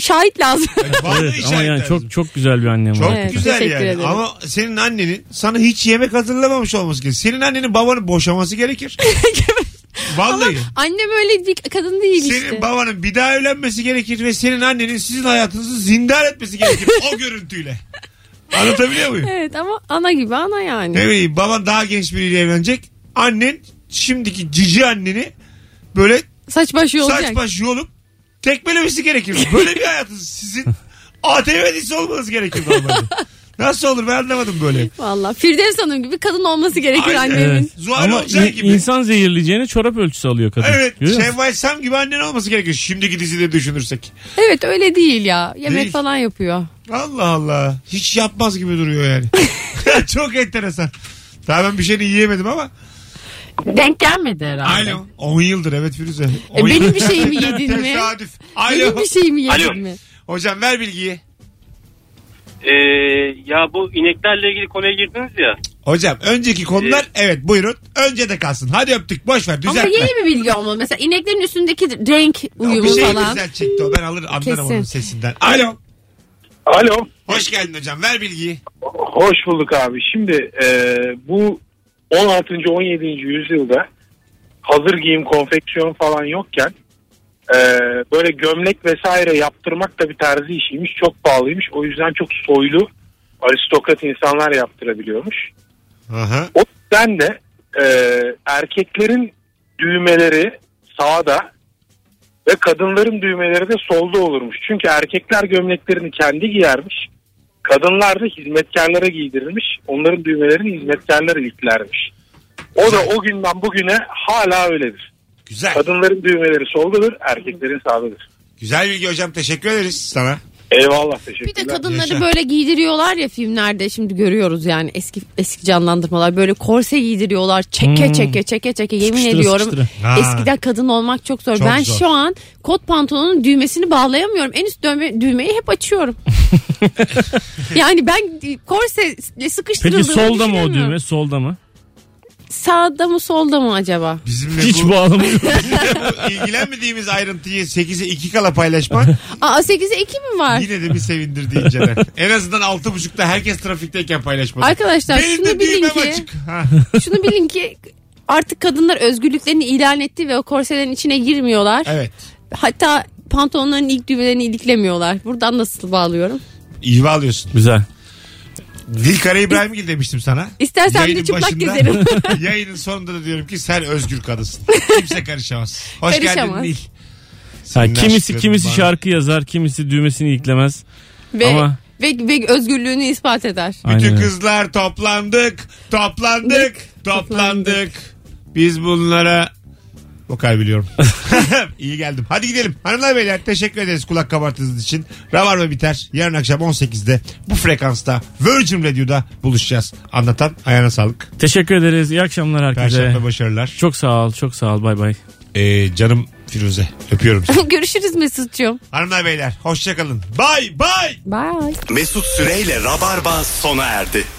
[SPEAKER 3] şahit lazım.
[SPEAKER 2] Hani Vallahi
[SPEAKER 4] Evet, ama yani
[SPEAKER 2] işaret lazım.
[SPEAKER 4] çok çok güzel bir annem
[SPEAKER 2] çok
[SPEAKER 4] var.
[SPEAKER 3] Evet,
[SPEAKER 2] güzel
[SPEAKER 3] teşekkür
[SPEAKER 2] yani.
[SPEAKER 3] ederim.
[SPEAKER 2] Ama senin annenin sana hiç yemek hazırlamamış olması gerekir. Senin annenin babanı boşaması gerekir.
[SPEAKER 3] <laughs>
[SPEAKER 2] Vallahi.
[SPEAKER 3] Annem öyle bir kadın değil
[SPEAKER 2] Senin
[SPEAKER 3] işte.
[SPEAKER 2] babanın bir daha evlenmesi gerekir ve senin annenin sizin hayatınızı zindan etmesi gerekir o
[SPEAKER 4] <laughs>
[SPEAKER 2] görüntüyle. Anlatabiliyor muyum?
[SPEAKER 3] evet ama ana gibi ana yani.
[SPEAKER 2] Ne bileyim baban daha genç biriyle evlenecek. Annen şimdiki cici anneni böyle
[SPEAKER 3] Saç baş yolacak.
[SPEAKER 2] saç baş yolup tekmelemesi gerekir. Böyle bir hayatınız sizin ATV dizisi olmanız gerekir normalde.
[SPEAKER 4] <laughs>
[SPEAKER 2] Nasıl olur ben anlamadım böyle.
[SPEAKER 3] Valla Firdevs Hanım gibi kadın olması gerekir
[SPEAKER 2] Aynen.
[SPEAKER 3] annemin.
[SPEAKER 4] Evet.
[SPEAKER 2] Zuhal
[SPEAKER 4] Ama
[SPEAKER 2] Olcay
[SPEAKER 4] in-
[SPEAKER 2] gibi.
[SPEAKER 4] insan zehirleyeceğine çorap ölçüsü alıyor kadın.
[SPEAKER 2] Evet şey-
[SPEAKER 4] Görüyor musun?
[SPEAKER 2] Şevval Sam gibi annen olması gerekir şimdiki dizileri düşünürsek.
[SPEAKER 3] Evet öyle değil ya. Yemek
[SPEAKER 2] Değil.
[SPEAKER 3] falan yapıyor.
[SPEAKER 2] Allah Allah hiç yapmaz gibi duruyor
[SPEAKER 3] <laughs>
[SPEAKER 2] yani. <laughs> Çok enteresan. Daha ben bir şeyini yiyemedim ama.
[SPEAKER 3] Denk gelmedi herhalde.
[SPEAKER 2] Alo. 10 yıldır evet Firuze.
[SPEAKER 3] E,
[SPEAKER 2] 10
[SPEAKER 3] benim
[SPEAKER 2] yıldır.
[SPEAKER 3] bir
[SPEAKER 2] <laughs>
[SPEAKER 3] şeyimi yedin mi?
[SPEAKER 2] Tesadüf. Alo.
[SPEAKER 3] Benim bir şey- şeyimi yedin
[SPEAKER 2] Alo.
[SPEAKER 3] mi?
[SPEAKER 2] Hocam ver bilgiyi.
[SPEAKER 11] Ee, ya bu ineklerle ilgili konuya girdiniz ya.
[SPEAKER 2] Hocam önceki konular evet buyurun. Önce de kalsın. Hadi öptük boş ver düzeltme.
[SPEAKER 3] Ama yeni bir bilgi olmalı. Mesela ineklerin üstündeki renk
[SPEAKER 2] O
[SPEAKER 3] uyumu
[SPEAKER 2] bir şey
[SPEAKER 3] falan.
[SPEAKER 2] düzeltecekti o. Ben alır anlarım
[SPEAKER 3] Kesin.
[SPEAKER 2] onun sesinden. Alo.
[SPEAKER 9] Alo.
[SPEAKER 2] Hoş geldin hocam. Ver bilgiyi.
[SPEAKER 9] Hoş bulduk abi. Şimdi e, bu 16. 17. yüzyılda hazır giyim konfeksiyon falan yokken e, böyle gömlek vesaire yaptırmak da bir terzi işiymiş. Çok pahalıymış. O yüzden çok soylu aristokrat insanlar yaptırabiliyormuş.
[SPEAKER 2] Aha.
[SPEAKER 9] O yüzden de e, erkeklerin düğmeleri sağda ve kadınların düğmeleri de solda olurmuş. Çünkü erkekler gömleklerini kendi giyermiş. Kadınlar da hizmetkarlara giydirilmiş. Onların düğmelerini hizmetkarlar iliklermiş. O da o günden bugüne hala öyledir.
[SPEAKER 2] Güzel.
[SPEAKER 9] Kadınların düğmeleri soldadır, erkeklerin sağdadır.
[SPEAKER 2] Güzel bilgi hocam. Teşekkür ederiz sana.
[SPEAKER 9] Eyvallah
[SPEAKER 3] Bir de
[SPEAKER 9] teşekkürler.
[SPEAKER 3] kadınları
[SPEAKER 2] Yaşa.
[SPEAKER 3] böyle giydiriyorlar ya filmlerde şimdi görüyoruz yani eski eski canlandırmalar böyle korse giydiriyorlar çeke
[SPEAKER 4] Hmm.
[SPEAKER 3] çeke çeke çeke yemin
[SPEAKER 4] Sıkıştıra
[SPEAKER 3] ediyorum
[SPEAKER 4] sıkıştıra.
[SPEAKER 2] Ha.
[SPEAKER 3] eskiden kadın olmak çok zor
[SPEAKER 2] Çok
[SPEAKER 3] ben
[SPEAKER 2] zor.
[SPEAKER 3] şu an kot pantolonun düğmesini bağlayamıyorum en üst dövme, düğmeyi hep açıyorum yani ben korse sıkıştırıldığımı
[SPEAKER 4] Peki solda mı o
[SPEAKER 3] düşünemiyorum.
[SPEAKER 4] düğme? Solda mı?
[SPEAKER 3] Sağda mı solda mı acaba?
[SPEAKER 2] Bizimle
[SPEAKER 4] Hiç
[SPEAKER 2] <laughs> bu,
[SPEAKER 4] bağlamıyor.
[SPEAKER 2] ilgilenmediğimiz ayrıntıyı 8'e 2 kala paylaşmak
[SPEAKER 3] Aa 8'e 2 mi var?
[SPEAKER 2] yine de bir sevindirdi inceden.
[SPEAKER 3] <laughs>
[SPEAKER 2] en azından 6.30'da herkes trafikteyken paylaşmadı.
[SPEAKER 3] Arkadaşlar
[SPEAKER 2] Benim
[SPEAKER 3] şunu
[SPEAKER 2] de
[SPEAKER 3] bilin
[SPEAKER 2] düğmem
[SPEAKER 3] ki
[SPEAKER 2] açık. Ha.
[SPEAKER 3] şunu bilin ki artık kadınlar özgürlüklerini ilan etti ve o korselerin içine girmiyorlar.
[SPEAKER 2] Evet.
[SPEAKER 3] Hatta pantolonların ilk düğmelerini iliklemiyorlar. Buradan nasıl bağlıyorum?
[SPEAKER 2] İyi alıyorsun.
[SPEAKER 4] Güzel.
[SPEAKER 2] Dilkara İbrahimgil demiştim sana.
[SPEAKER 3] İstersen bir
[SPEAKER 2] Yayının
[SPEAKER 3] çıplak
[SPEAKER 2] başında,
[SPEAKER 3] gezerim.
[SPEAKER 2] <laughs> yayının sonunda da diyorum ki sen özgür
[SPEAKER 3] <laughs>
[SPEAKER 2] kadınsın. Kimse karışamaz. Hoş
[SPEAKER 3] Karışamaz.
[SPEAKER 2] geldin Nil.
[SPEAKER 4] Ha,
[SPEAKER 2] Senin
[SPEAKER 4] kimisi
[SPEAKER 2] aşkların
[SPEAKER 4] kimisi
[SPEAKER 2] bana-
[SPEAKER 4] şarkı yazar, kimisi düğmesini iliklemez.
[SPEAKER 3] Ve,
[SPEAKER 4] Ama
[SPEAKER 3] ve, ve özgürlüğünü ispat eder. <laughs>
[SPEAKER 2] Bütün
[SPEAKER 4] Aynen öyle.
[SPEAKER 2] kızlar toplandık, toplandık, toplandık. Biz bunlara vokal biliyorum.
[SPEAKER 4] <laughs>
[SPEAKER 2] <laughs> İyi geldim. Hadi gidelim. Hanımlar beyler teşekkür ederiz kulak kabarttığınız için. Rabarba biter. Yarın akşam 18'de bu frekansta Virgin Radio'da buluşacağız. Anlatan ayağına sağlık.
[SPEAKER 4] teşekkür ederiz. İyi akşamlar herkese.
[SPEAKER 2] Perşembe başarılar.
[SPEAKER 4] Çok sağ ol, çok sağ ol. Bay bay.
[SPEAKER 2] Ee, canım Firuze. Öpüyorum seni.
[SPEAKER 3] Görüşürüz Mesut'cuğum.
[SPEAKER 2] Hanımlar beyler hoşçakalın. Bay bay.
[SPEAKER 3] Bye.
[SPEAKER 1] Mesut Süreyle Rabarba sona erdi.